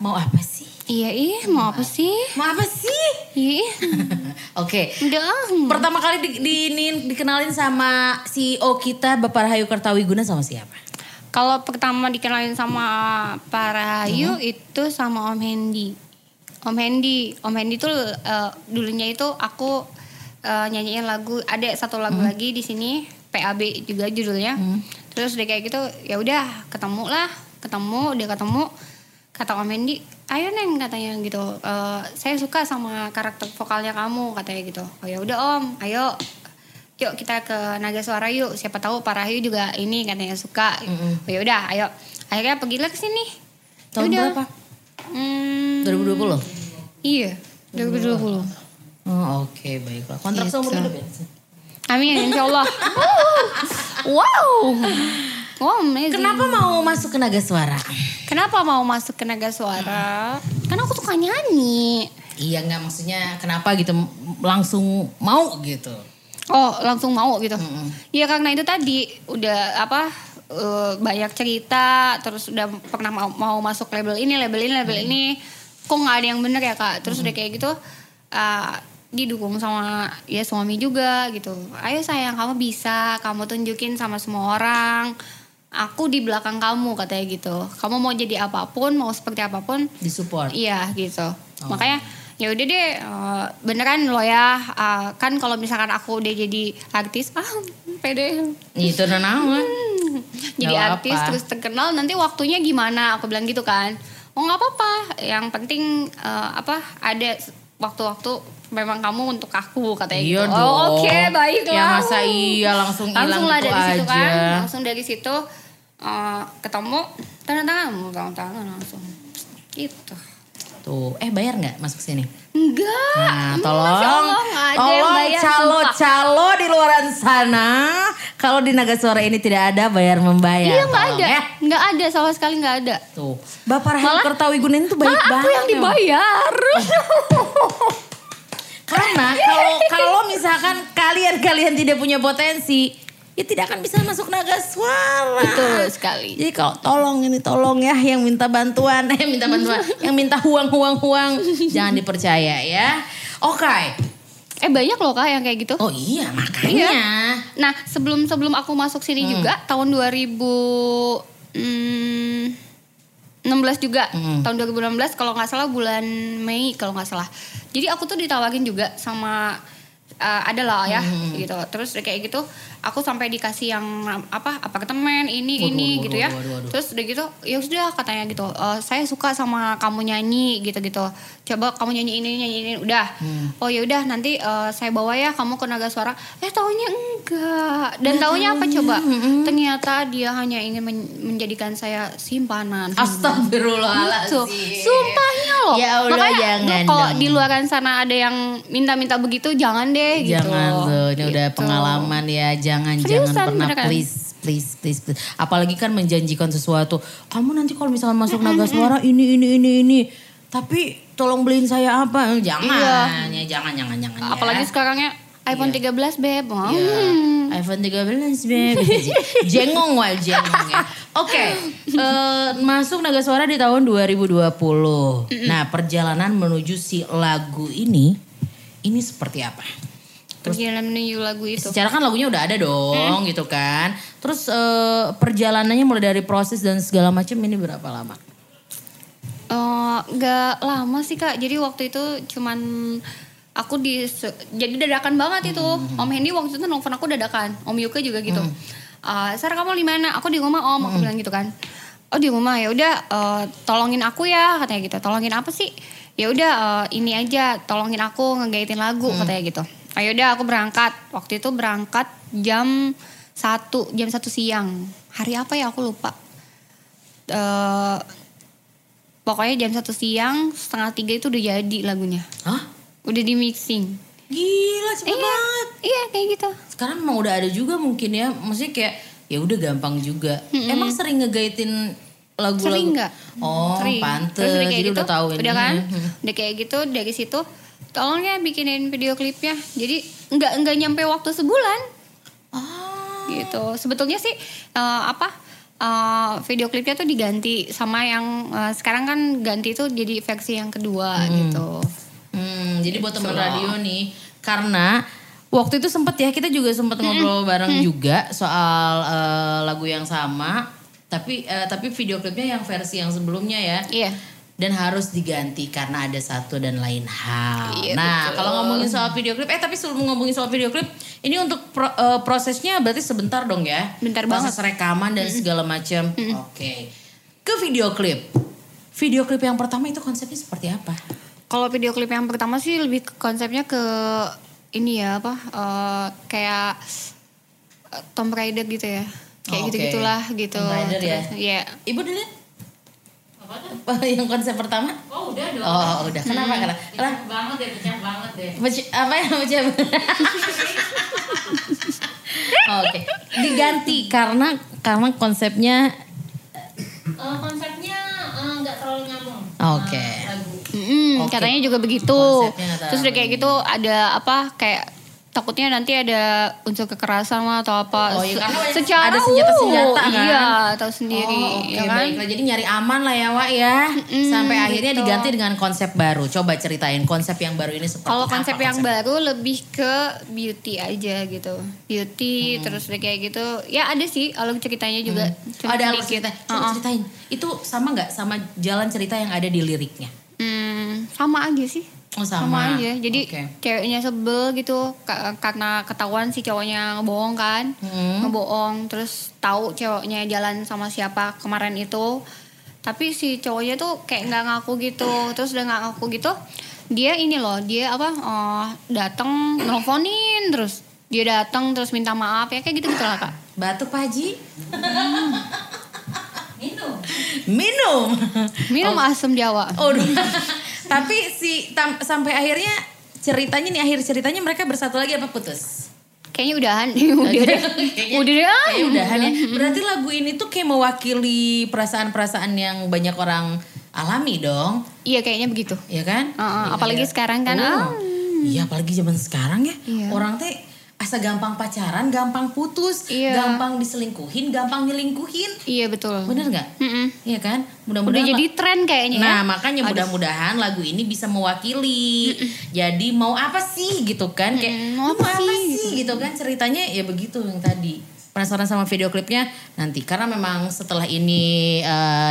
Speaker 1: mau apa sih?
Speaker 2: iya ih mau apa sih Iya,
Speaker 1: Mau apa sih?
Speaker 2: ih
Speaker 1: Oke.
Speaker 2: udah ah.
Speaker 1: Pertama kali di, di- ini dikenalin sama CEO kita Bapak Rahayu Kertawiguna sama siapa?
Speaker 2: kalau pertama dikenalin sama para Yu itu sama Om Hendy Om Hendy Om Hendy tuh eh, dulunya itu aku eh, nyanyiin lagu ada satu lagu lagi di sini PAB juga judulnya terus udah kayak gitu ya udah ketemu lah ketemu udah ketemu kata Om Hendy ayo neng katanya gitu "Eh, saya suka sama karakter vokalnya kamu katanya gitu oh ya udah Om ayo yuk kita ke Naga Suara yuk siapa tahu Pak Rahayu juga ini katanya suka
Speaker 1: Mm-mm.
Speaker 2: oh, ya udah ayo akhirnya pergilah ke sini
Speaker 1: Tahun
Speaker 2: Yaudah.
Speaker 1: berapa?
Speaker 2: Hmm,
Speaker 1: 2020?
Speaker 2: iya 2020
Speaker 1: Oh, Oke baiklah. Kontrak
Speaker 2: Gitu.
Speaker 1: seumur hidup ya?
Speaker 2: Amin insya Allah wow wow amazing.
Speaker 1: Kenapa mau masuk ke Naga Suara?
Speaker 2: kenapa mau masuk ke Naga Suara karena aku suka nyanyi
Speaker 1: Iya nggak maksudnya kenapa gitu m- langsung mau gitu?
Speaker 2: Oh langsung mau gitu?
Speaker 1: Mm-mm.
Speaker 2: Iya karena itu tadi udah apa eh, banyak cerita terus udah pernah mau, mau masuk label ini label ini label ini kok nggak ada yang bener ya kak? Terus udah kayak gitu ah, didukung sama ya suami juga gitu. Ayo sayang kamu bisa kamu tunjukin sama semua orang. Aku di belakang kamu katanya gitu. Kamu mau jadi apapun mau seperti apapun
Speaker 1: Disupport?
Speaker 2: Iya gitu.
Speaker 1: Oh.
Speaker 2: Makanya ya udah deh eh, beneran lo ya Eh, kan kalau misalkan aku udah jadi artis ah pede Hmm,
Speaker 1: Itu Gitu, udah naon.
Speaker 2: jadi
Speaker 1: Nggak
Speaker 2: artis
Speaker 1: apa-apa.
Speaker 2: terus terkenal nanti waktunya gimana aku bilang gitu kan oh nggak apa-apa yang penting eh, apa ada waktu-waktu memang kamu untuk aku katanya
Speaker 1: Iya
Speaker 2: gitu
Speaker 1: dong.
Speaker 2: oh oke baiklah
Speaker 1: Ya masa iya langsung hilang
Speaker 2: langsung lah
Speaker 1: gitu
Speaker 2: dari situ
Speaker 1: aja.
Speaker 2: kan langsung dari situ eh, ketemu tanda tangan tanda tangan langsung gitu
Speaker 1: Tuh, eh bayar nggak masuk sini?
Speaker 2: enggak
Speaker 1: Nah,
Speaker 2: Masya
Speaker 1: tolong,
Speaker 2: Allah, nggak Iya, ada yang
Speaker 1: tolong
Speaker 2: bayar, sumpah.
Speaker 1: calo-calo di luaran sana. Kalau di Naga Suara ini tidak ada bayar membayar.
Speaker 2: Iya nggak
Speaker 1: Tolong,
Speaker 2: ada,
Speaker 1: ya.
Speaker 2: nggak ada sama sekali nggak ada.
Speaker 1: Tuh, Bapak Rahel
Speaker 2: Malah-
Speaker 1: Kertawi Gunen tuh baik
Speaker 2: Malah
Speaker 1: banget. ya,
Speaker 2: aku yang
Speaker 1: memang.
Speaker 2: dibayar.
Speaker 1: Karena kalau kalau misalkan kalian-kalian tidak punya potensi, ya tidak akan bisa masuk naga suara.
Speaker 2: Betul sekali.
Speaker 1: Jadi kalau tolong ini tolong ya yang minta bantuan, eh minta bantuan, yang minta huang-huang-huang, jangan dipercaya ya. Oke.
Speaker 2: Eh banyak loh kak yang kayak gitu.
Speaker 1: Oh iya makanya.
Speaker 2: Nah sebelum sebelum aku masuk sini
Speaker 1: Hmm.
Speaker 2: juga tahun 2000 hmm, 16 juga
Speaker 1: Hmm.
Speaker 2: tahun 2016 kalau nggak salah bulan Mei kalau nggak salah. Jadi aku tuh ditawarin juga sama eh, ada lah ya
Speaker 1: Hmm.
Speaker 2: gitu. Terus udah kayak gitu aku sampai dikasih yang apa apartemen ini
Speaker 1: Waduh,
Speaker 2: ini
Speaker 1: waduh,
Speaker 2: gitu ya.
Speaker 1: waduh, waduh, waduh.
Speaker 2: Terus udah gitu ya sudah katanya gitu. "Eh, saya suka sama kamu nyanyi gitu-gitu. Coba kamu nyanyi ini nyanyi ini udah.
Speaker 1: Hmm.
Speaker 2: Oh ya udah nanti eh, saya bawa ya kamu ke naga suara. Eh taunya enggak. Dan taunya apa coba?
Speaker 1: Hmm.
Speaker 2: Ternyata dia hanya ingin men- menjadikan saya simpanan. Gitu.
Speaker 1: Astagfirullahaladzim.
Speaker 2: Sumpahnya loh.
Speaker 1: Ya Allah,
Speaker 2: Makanya
Speaker 1: jangan
Speaker 2: kalau
Speaker 1: dong.
Speaker 2: di luaran sana ada yang minta-minta begitu jangan deh gitu.
Speaker 1: Jangan tuh, ini udah
Speaker 2: Gitu.
Speaker 1: pengalaman ya. Jangan
Speaker 2: Seriusan,
Speaker 1: jangan pernah
Speaker 2: beneran.
Speaker 1: please please please please. Apalagi kan menjanjikan sesuatu. Kamu nanti kalau misalkan masuk naga suara ini ini ini ini. Tapi tolong beliin saya apa? Jangan, ya, jangan jangan jangan. ya.
Speaker 2: Iya. Apalagi sekarangnya
Speaker 1: Iya.
Speaker 2: iPhone 13 beb.
Speaker 1: Ya,
Speaker 2: Hmm.
Speaker 1: iPhone 13 Beb. jengong wah jengong ya. Oke, eh, masuk Naga Suara di tahun 2020. Nah, perjalanan menuju si lagu ini ini seperti apa?
Speaker 2: Perjalanan menuju lagu itu.
Speaker 1: Secara kan lagunya udah ada dong gitu kan. Terus eh, perjalanannya mulai dari proses dan segala macam ini berapa lama?
Speaker 2: Eh, nggak lama sih kak jadi waktu itu cuman aku di jadi dadakan banget itu om Hendy waktu itu nelfon aku dadakan om Yuka juga gitu Eh Sar kamu di mana aku di rumah om aku bilang gitu kan oh di rumah ya udah eh, tolongin aku ya katanya gitu tolongin apa sih ya udah eh, ini aja tolongin aku ngegaitin lagu katanya gitu ayo udah aku berangkat waktu itu berangkat jam satu jam satu siang hari apa ya aku lupa eh pokoknya jam satu siang setengah tiga itu udah jadi lagunya
Speaker 1: Hah?
Speaker 2: udah di mixing
Speaker 1: Gila cepet
Speaker 2: iya
Speaker 1: banget.
Speaker 2: iya kayak gitu
Speaker 1: Sekarang emang udah ada juga mungkin ya. Maksudnya kayak ya udah gampang juga. Emang sering ngegaitin lagu-lagu?
Speaker 2: sering nggak
Speaker 1: Oh,
Speaker 2: Sering.
Speaker 1: pantes.
Speaker 2: Terus udah kayak
Speaker 1: Jadi
Speaker 2: gitu
Speaker 1: udah tahu ini.
Speaker 2: udah kan
Speaker 1: Mhm.
Speaker 2: udah kayak gitu dari situ tolong ya bikinin video klipnya jadi nggak nggak nyampe waktu sebulan
Speaker 1: Ah,
Speaker 2: gitu sebetulnya sih eh, apa eh, video klipnya tuh diganti sama yang eh, sekarang kan ganti tuh jadi versi yang kedua gitu
Speaker 1: Hmm, jadi buat teman radio nih, karena waktu itu sempet ya kita juga sempet ngobrol bareng juga soal eh, lagu yang sama, tapi eh, tapi video klipnya yang versi yang sebelumnya ya.
Speaker 2: iya
Speaker 1: Dan harus diganti karena ada satu dan lain hal.
Speaker 2: Iya,
Speaker 1: nah,
Speaker 2: betul.
Speaker 1: kalau ngomongin soal video klip, eh tapi sebelum ngomongin soal video klip, ini untuk pro- eh, prosesnya berarti sebentar dong ya?
Speaker 2: Bentar
Speaker 1: Proses rekaman dan segala macam. Oke, ke video klip. Video klip yang pertama itu konsepnya seperti apa?
Speaker 2: Kalau video klip yang pertama sih lebih ke konsepnya ke ini ya apa eh, kayak eh, Tomb Raider gitu ya kayak
Speaker 1: Oh,
Speaker 2: gitu
Speaker 1: oke.
Speaker 2: gitulah gitu
Speaker 1: Tomb Raider ya?
Speaker 2: Terus, iya.
Speaker 1: Ibu dulu Oh,
Speaker 3: Apa tuh?
Speaker 1: yang konsep pertama?
Speaker 3: Oh udah dong.
Speaker 1: Oh udah, kenapa? Kenapa? Lah,
Speaker 3: Pecah banget deh, pecah banget deh.
Speaker 1: peci- apa yang pecah? Oh, Oke, diganti karena karena konsepnya
Speaker 3: Eh, konsepnya eh, nggak terlalu nyambung.
Speaker 1: Oke.
Speaker 3: Eh, lagu.
Speaker 2: Mm-mm,
Speaker 1: Oke.
Speaker 2: katanya juga begitu
Speaker 1: Konsepnya nggak
Speaker 2: terus udah kayak gitu ada apa kayak takutnya nanti ada unsur kekerasan lah atau apa
Speaker 1: Oh, iya,
Speaker 2: Se-
Speaker 1: karena banyak-
Speaker 2: secara
Speaker 1: ada senjata-senjata,
Speaker 2: uh,
Speaker 1: kan?
Speaker 2: iya tahu sendiri
Speaker 1: Oh, oke,
Speaker 2: ya kan
Speaker 1: baiklah. Jadi nyari aman lah ya, Wak ya. Sampai akhirnya
Speaker 2: gitu.
Speaker 1: diganti dengan konsep baru. Coba ceritain konsep yang baru ini seperti
Speaker 2: Kalau
Speaker 1: apa
Speaker 2: konsep yang baru lebih ke beauty aja gitu. Beauty
Speaker 1: Hmm.
Speaker 2: terus udah kayak gitu. Ya ada sih alur ceritanya juga.
Speaker 1: Oh,
Speaker 2: Cuma
Speaker 1: ada alur cerita.
Speaker 2: sedikit.
Speaker 1: Coba
Speaker 2: Uh-uh.
Speaker 1: ceritain. Itu sama nggak sama jalan cerita yang ada di liriknya?
Speaker 2: Hmm, sama aja sih.
Speaker 1: Oh,
Speaker 2: Sama,
Speaker 1: sama.
Speaker 2: aja. Jadi
Speaker 1: Oke.
Speaker 2: ceweknya sebel gitu ka- karena ketahuan si cowoknya ngebohong kan.
Speaker 1: Hmm.
Speaker 2: Ngebohong terus tahu cowoknya jalan sama siapa kemarin itu. Tapi si cowoknya tuh kayak nggak ngaku gitu. Terus udah nggak ngaku gitu, dia ini loh, dia apa oh, datang nelfonin terus. Dia datang terus minta maaf ya kayak gitu-gitu lah, Kak.
Speaker 1: Batuk Pak Haji?
Speaker 3: Minum.
Speaker 1: Minum.
Speaker 2: Minum asam Jawa.
Speaker 1: Oh, duh. tapi si tam- sampai akhirnya ceritanya nih akhir ceritanya mereka bersatu lagi apa putus?
Speaker 2: Kayaknya udahan. udah deh.
Speaker 1: Kayaknya-
Speaker 2: Udah deh. ah.
Speaker 1: Kayaknya udahan ya. Berarti lagu ini tuh kayak mewakili perasaan-perasaan yang banyak orang alami dong,
Speaker 2: Iya kayaknya begitu.
Speaker 1: ya kan?
Speaker 2: Heeh,
Speaker 1: Iya,
Speaker 2: apalagi
Speaker 1: kayak-
Speaker 2: sekarang kan,
Speaker 1: Oh.
Speaker 2: ah.
Speaker 1: Iya, apalagi zaman sekarang ya.
Speaker 2: Iya.
Speaker 1: Orang teh asa gampang pacaran, gampang putus,
Speaker 2: Iya.
Speaker 1: gampang diselingkuhin, gampang nyelingkuhin.
Speaker 2: Iya betul.
Speaker 1: Bener nggak?
Speaker 2: Mm-mm.
Speaker 1: Iya kan?
Speaker 2: Udah
Speaker 1: Mudah-mudahan
Speaker 2: jadi tren kayaknya ya.
Speaker 1: Nah, makanya mudah-mudahan lagu ini bisa mewakili. Jadi mau apa sih gitu kan? Kayak
Speaker 2: Mm,
Speaker 1: mau apa, sih gitu kan? Ceritanya ya begitu yang tadi. Penasaran sama video klipnya nanti karena memang setelah ini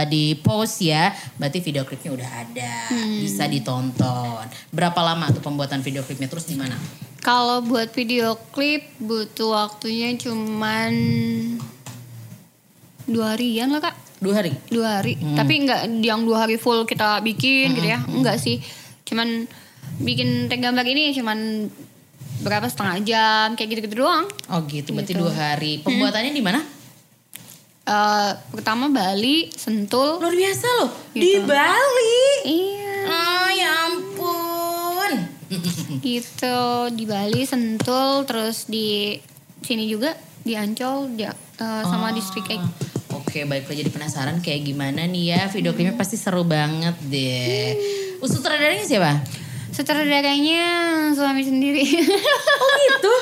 Speaker 1: di post ya, berarti video klipnya udah ada, bisa ditonton. Berapa lama tuh pembuatan video klipnya? Terus di mana?
Speaker 2: Kalau buat video klip butuh waktunya cuman dua harian lah kak.
Speaker 1: Dua hari.
Speaker 2: Dua hari. Tapi nggak yang dua hari full kita bikin gitu ya. Enggak sih. Cuman bikin tag gambar ini cuman berapa setengah jam kayak gitu-gitu doang.
Speaker 1: Oh gitu, berarti dua hari. Pembuatannya di mana?
Speaker 2: Eh, pertama Bali, Sentul.
Speaker 1: Luar biasa loh, di Bali.
Speaker 2: Iya.
Speaker 1: Oh ya ampun.
Speaker 2: gitu di Bali Sentul terus di sini juga di Ancol di, eh, sama di Street Egg.
Speaker 1: Oke, baiklah jadi penasaran kayak gimana nih ya video klipnya pasti seru banget deh. Uh, Sutradaranya siapa?
Speaker 2: Sutradaranya suami sendiri. Oh gitu?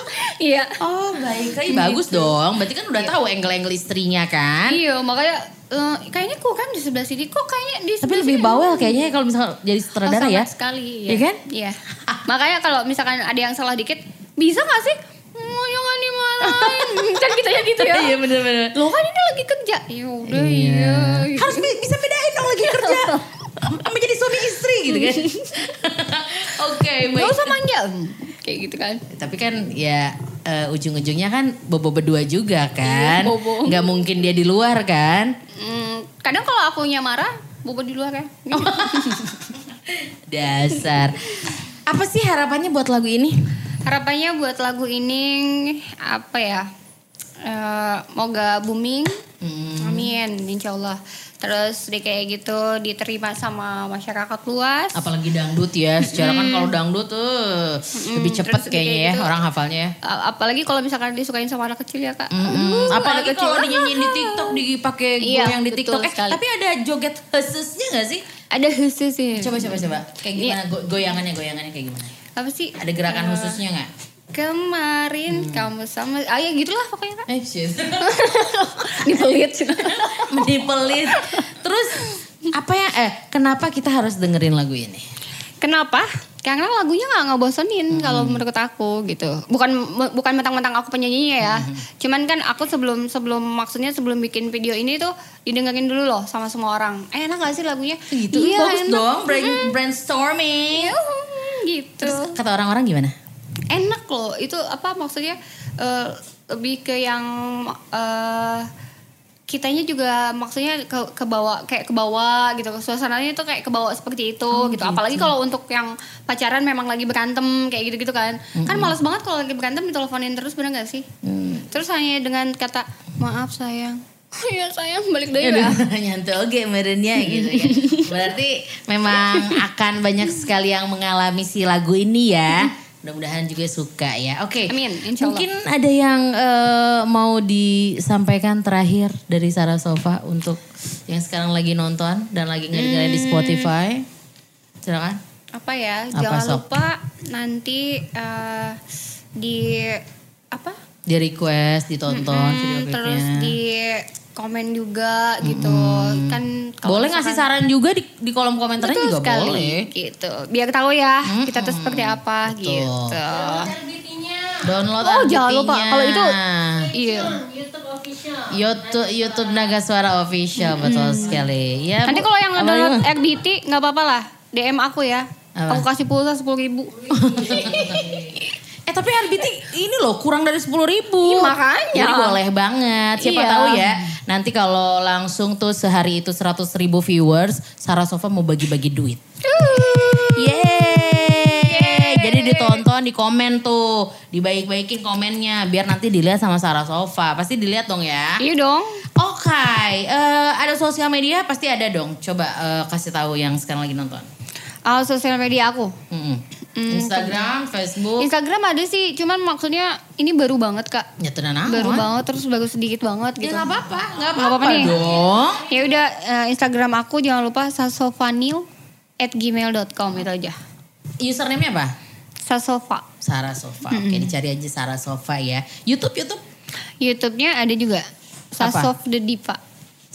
Speaker 2: Iya.
Speaker 1: Oh, baiklah. Ih, bagus dong. Berarti kan udah tahu angle-angle istrinya kan?
Speaker 2: Iya, makanya eh, kayaknya kok kan di sebelah sini kok kayaknya di
Speaker 1: Tapi
Speaker 2: sebelah
Speaker 1: lebih
Speaker 2: sini.
Speaker 1: bawel kayaknya kalau misalnya jadi
Speaker 2: Oh,
Speaker 1: sutradara
Speaker 2: sama
Speaker 1: ya.
Speaker 2: sekali.
Speaker 1: Iya kan?
Speaker 2: Iya. makanya kalau misalkan ada yang salah dikit, bisa gak sih? "Hmm, Mau jangan dimarahin. kan kita ya gitu ya.
Speaker 1: Iya, bener-bener.
Speaker 2: Lo kan ini lagi kerja. Ya udah iya. gitu.
Speaker 1: Harus bi- bisa bedain dong lagi kerja. Sama jadi suami istri gitu kan. Oke,
Speaker 2: Gak
Speaker 1: baik.
Speaker 2: usah manja. Kayak gitu kan.
Speaker 1: Tapi kan ya eh, ujung-ujungnya kan bobo berdua juga kan.
Speaker 2: Iya, bobo.
Speaker 1: Nggak mungkin dia di luar kan.
Speaker 2: Hmm, kadang kalau akunya marah, bobo di luar ya.
Speaker 1: Dasar. Apa sih harapannya buat lagu ini?
Speaker 2: Harapannya buat lagu ini apa ya? Eh, moga booming.
Speaker 1: Hmm,
Speaker 2: Amin, insya Allah. Terus deh kayak gitu diterima sama masyarakat luas.
Speaker 1: Apalagi dangdut ya. Secara kan kalau dangdut tuh lebih cepat
Speaker 2: terus udah
Speaker 1: kayaknya
Speaker 2: kayak
Speaker 1: ya
Speaker 2: gitu.
Speaker 1: orang hafalnya ya.
Speaker 2: A- apalagi kalau misalkan disukain sama anak kecil ya kak.
Speaker 1: Mm,
Speaker 2: Aduh,
Speaker 1: apalagi
Speaker 2: anak kecil.
Speaker 1: kalau dinyanyiin di TikTok dipakai
Speaker 2: Iya,
Speaker 1: goyang di
Speaker 2: betul
Speaker 1: TikTok. Eh,
Speaker 2: sekali.
Speaker 1: tapi ada joget khususnya gak sih?
Speaker 2: Ada khusus ya.
Speaker 1: Coba coba coba. Kayak
Speaker 2: Iya.
Speaker 1: gimana go- goyangannya goyangannya kayak gimana?
Speaker 2: Apa sih?
Speaker 1: Ada gerakan
Speaker 2: Eh.
Speaker 1: khususnya nggak?
Speaker 2: Kemarin kamu sama, ah ya gitulah pokoknya kak.
Speaker 1: Eh, shit.
Speaker 2: Dibelit sih.
Speaker 1: Menipelit. Terus apa ya eh kenapa kita harus dengerin lagu ini?
Speaker 2: Kenapa? Karena lagunya nggak
Speaker 1: Hmm.
Speaker 2: ngebosenin kalau menurut aku gitu. Bukan bu- bukan mentang-mentang aku penyanyinya ya.
Speaker 1: Hmm.
Speaker 2: Cuman kan aku sebelum sebelum maksudnya sebelum bikin video ini tuh didengerin dulu loh sama semua orang. Eh, enak gak sih lagunya?
Speaker 1: Gitu
Speaker 2: Iya,
Speaker 1: bagus
Speaker 2: enak.
Speaker 1: dong brain- brainstorming.
Speaker 2: Hmm, gitu.
Speaker 1: Terus kata orang-orang gimana?
Speaker 2: enak loh. Itu apa maksudnya eh, lebih ke yang eh, kitanya juga maksudnya ke ke bawah kayak ke bawah gitu suasananya itu kayak ke bawah seperti itu gitu apalagi kalau untuk yang pacaran memang lagi berantem kayak gitu-gitu kan kan malas banget kalau lagi berantem diteleponin terus bener gak sih terus hanya dengan kata maaf sayang ya sayang balik dulu ya
Speaker 1: Aduh, nyantai oke merennya gitu ya. Berarti memang akan banyak sekali yang mengalami si lagu ini ya. Mudah-mudahan juga suka ya. Oke.
Speaker 2: Amin, insya Allah.
Speaker 1: Mungkin ada yang eh, mau disampaikan terakhir dari Sarah Sofa untuk yang sekarang lagi nonton dan lagi ngedengerin
Speaker 2: Hmm.
Speaker 1: di Spotify. Silakan.
Speaker 2: apa ya
Speaker 1: Apa,
Speaker 2: jangan
Speaker 1: Sob?
Speaker 2: lupa nanti eh, di apa
Speaker 1: Di request, ditonton video
Speaker 2: Hmm,
Speaker 1: klipnya.
Speaker 2: terus di komen juga gitu kan
Speaker 1: Hmm.
Speaker 2: kalau
Speaker 1: boleh ngasih
Speaker 2: misalkan-
Speaker 1: saran juga di, di kolom komentarnya
Speaker 2: Betul
Speaker 1: juga
Speaker 2: sekali,
Speaker 1: boleh. Hmm.
Speaker 2: gitu biar tahu ya kita tuh seperti apa gitu
Speaker 3: RBT-nya
Speaker 1: Download
Speaker 2: Oh, jangan lupa.
Speaker 1: RBT-nya.
Speaker 2: Kalau itu- iya
Speaker 3: YouTube official.
Speaker 1: YouTube YouTube Naga Suara Official betul sekali. Ya,
Speaker 2: nanti
Speaker 1: Bu-
Speaker 2: kalau yang
Speaker 1: apa
Speaker 2: download
Speaker 1: lagi,
Speaker 2: RBT nggak apa-apa lah DM aku ya
Speaker 1: Apa?
Speaker 2: aku kasih pulsa sepuluh
Speaker 1: Bu?
Speaker 2: ribu
Speaker 1: Eh tapi RBT ini loh kurang dari sepuluh ribu.
Speaker 2: Ih, makanya.
Speaker 1: Jadi boleh banget. Siapa
Speaker 2: Iya.
Speaker 1: tahu ya. Nanti kalau langsung tuh sehari itu seratus ribu viewers, Sarah Sofa mau bagi-bagi duit. Yeay. Jadi ditonton, di komen tuh, dibaik-baikin komennya, biar nanti dilihat sama Sarah Sofa. Pasti dilihat dong ya.
Speaker 2: iya dong
Speaker 1: Oke, eh, ada sosial media pasti ada dong. Coba eh, kasih tahu yang sekarang lagi nonton.
Speaker 2: Ah, sosial media aku
Speaker 1: Mm-mm. Instagram, Facebook.
Speaker 2: Instagram ada sih cuman maksudnya ini baru banget kak
Speaker 1: Ya tenan amat.
Speaker 2: baru banget terus baru sedikit banget
Speaker 1: Ya
Speaker 2: gitu
Speaker 1: nggak apa-apa, nggak
Speaker 2: Nggak
Speaker 1: apa-apa,
Speaker 2: apa-apa nih.
Speaker 1: dong.
Speaker 2: ya udah eh, Instagram aku jangan lupa sasofanil at gmail.com itu aja
Speaker 1: Username-nya apa?
Speaker 2: sasofa
Speaker 1: Sarah Sofa. Oke, dicari aja Sarah Sofa ya. YouTube, YouTube.
Speaker 2: YouTube-nya ada juga sasof the diva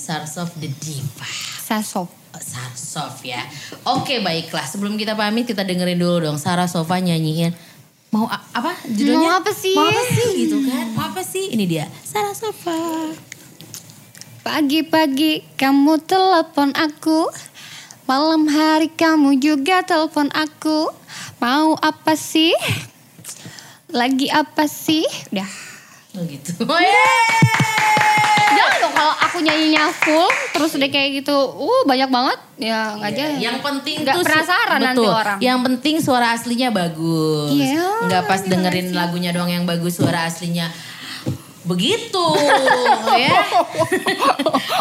Speaker 1: Sarsof the Diva.
Speaker 2: sasof
Speaker 1: Sarsof ya. Oke, baiklah. Sebelum kita pamit, kita dengerin dulu dong Sarah Sofa nyanyiin mau a- apa judulnya?
Speaker 2: Mau apa sih?
Speaker 1: Mau apa sih gitu kan? Mau apa sih? Ini dia. Sarah Sofa.
Speaker 2: Pagi-pagi kamu telepon aku Malam hari kamu juga telepon aku Mau apa sih? Lagi apa sih? Udah
Speaker 1: Oh gitu. Oh, yeay.
Speaker 2: Jangan dong kalau aku nyanyinya full Terus udah kayak gitu Uh banyak banget Ya nggak aja
Speaker 1: Yang penting
Speaker 2: Nggak
Speaker 1: tuh su-
Speaker 2: penasaran nanti
Speaker 1: betul.
Speaker 2: orang.
Speaker 1: Yang penting suara aslinya bagus.
Speaker 2: Iya,
Speaker 1: Nggak pas
Speaker 2: gimana
Speaker 1: dengerin
Speaker 2: sih?
Speaker 1: lagunya doang yang bagus suara aslinya. Begitu ya.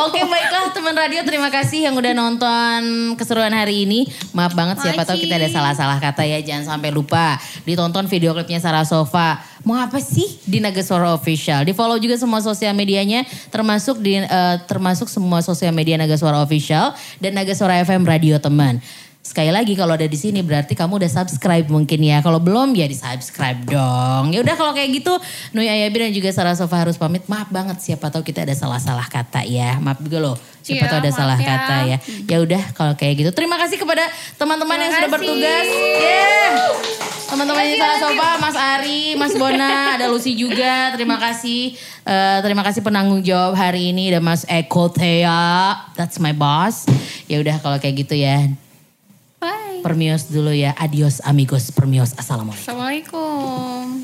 Speaker 1: Oke baiklah teman radio terima kasih yang udah nonton keseruan hari ini. Maaf banget siapa tahu kita ada salah-salah kata ya. Jangan sampai lupa ditonton video klipnya Sarah Sofa. Mau apa sih di Naga Suara Official? Di follow juga semua sosial medianya termasuk di eh, termasuk semua sosial media Naga Suara Official dan Naga Suara FM Radio teman. Sekali lagi kalau ada di sini berarti kamu udah subscribe mungkin ya. Kalau belum ya di subscribe dong. Ya udah kalau kayak gitu Nui Ayabi dan juga Sarah Sofa harus pamit. Maaf banget siapa tahu kita ada salah-salah kata ya. Maaf juga loh siapa
Speaker 2: Iya,
Speaker 1: tahu ada
Speaker 2: maaf
Speaker 1: salah
Speaker 2: ya.
Speaker 1: kata ya. Ya udah kalau kayak gitu. Terima kasih kepada teman-teman yang sudah
Speaker 2: Terima kasih.
Speaker 1: bertugas. Yeah. Teman-teman yang Sarah Sofa, Mas Ari, Mas Bona, ada Lucy juga. Terima kasih. Eh, terima kasih penanggung jawab hari ini ada Mas Eko Thea. That's my boss. Ya udah kalau kayak gitu ya.
Speaker 2: Bye
Speaker 1: Permios dulu ya. Adios amigos Permios. Assalamualaikum.
Speaker 2: Assalamualaikum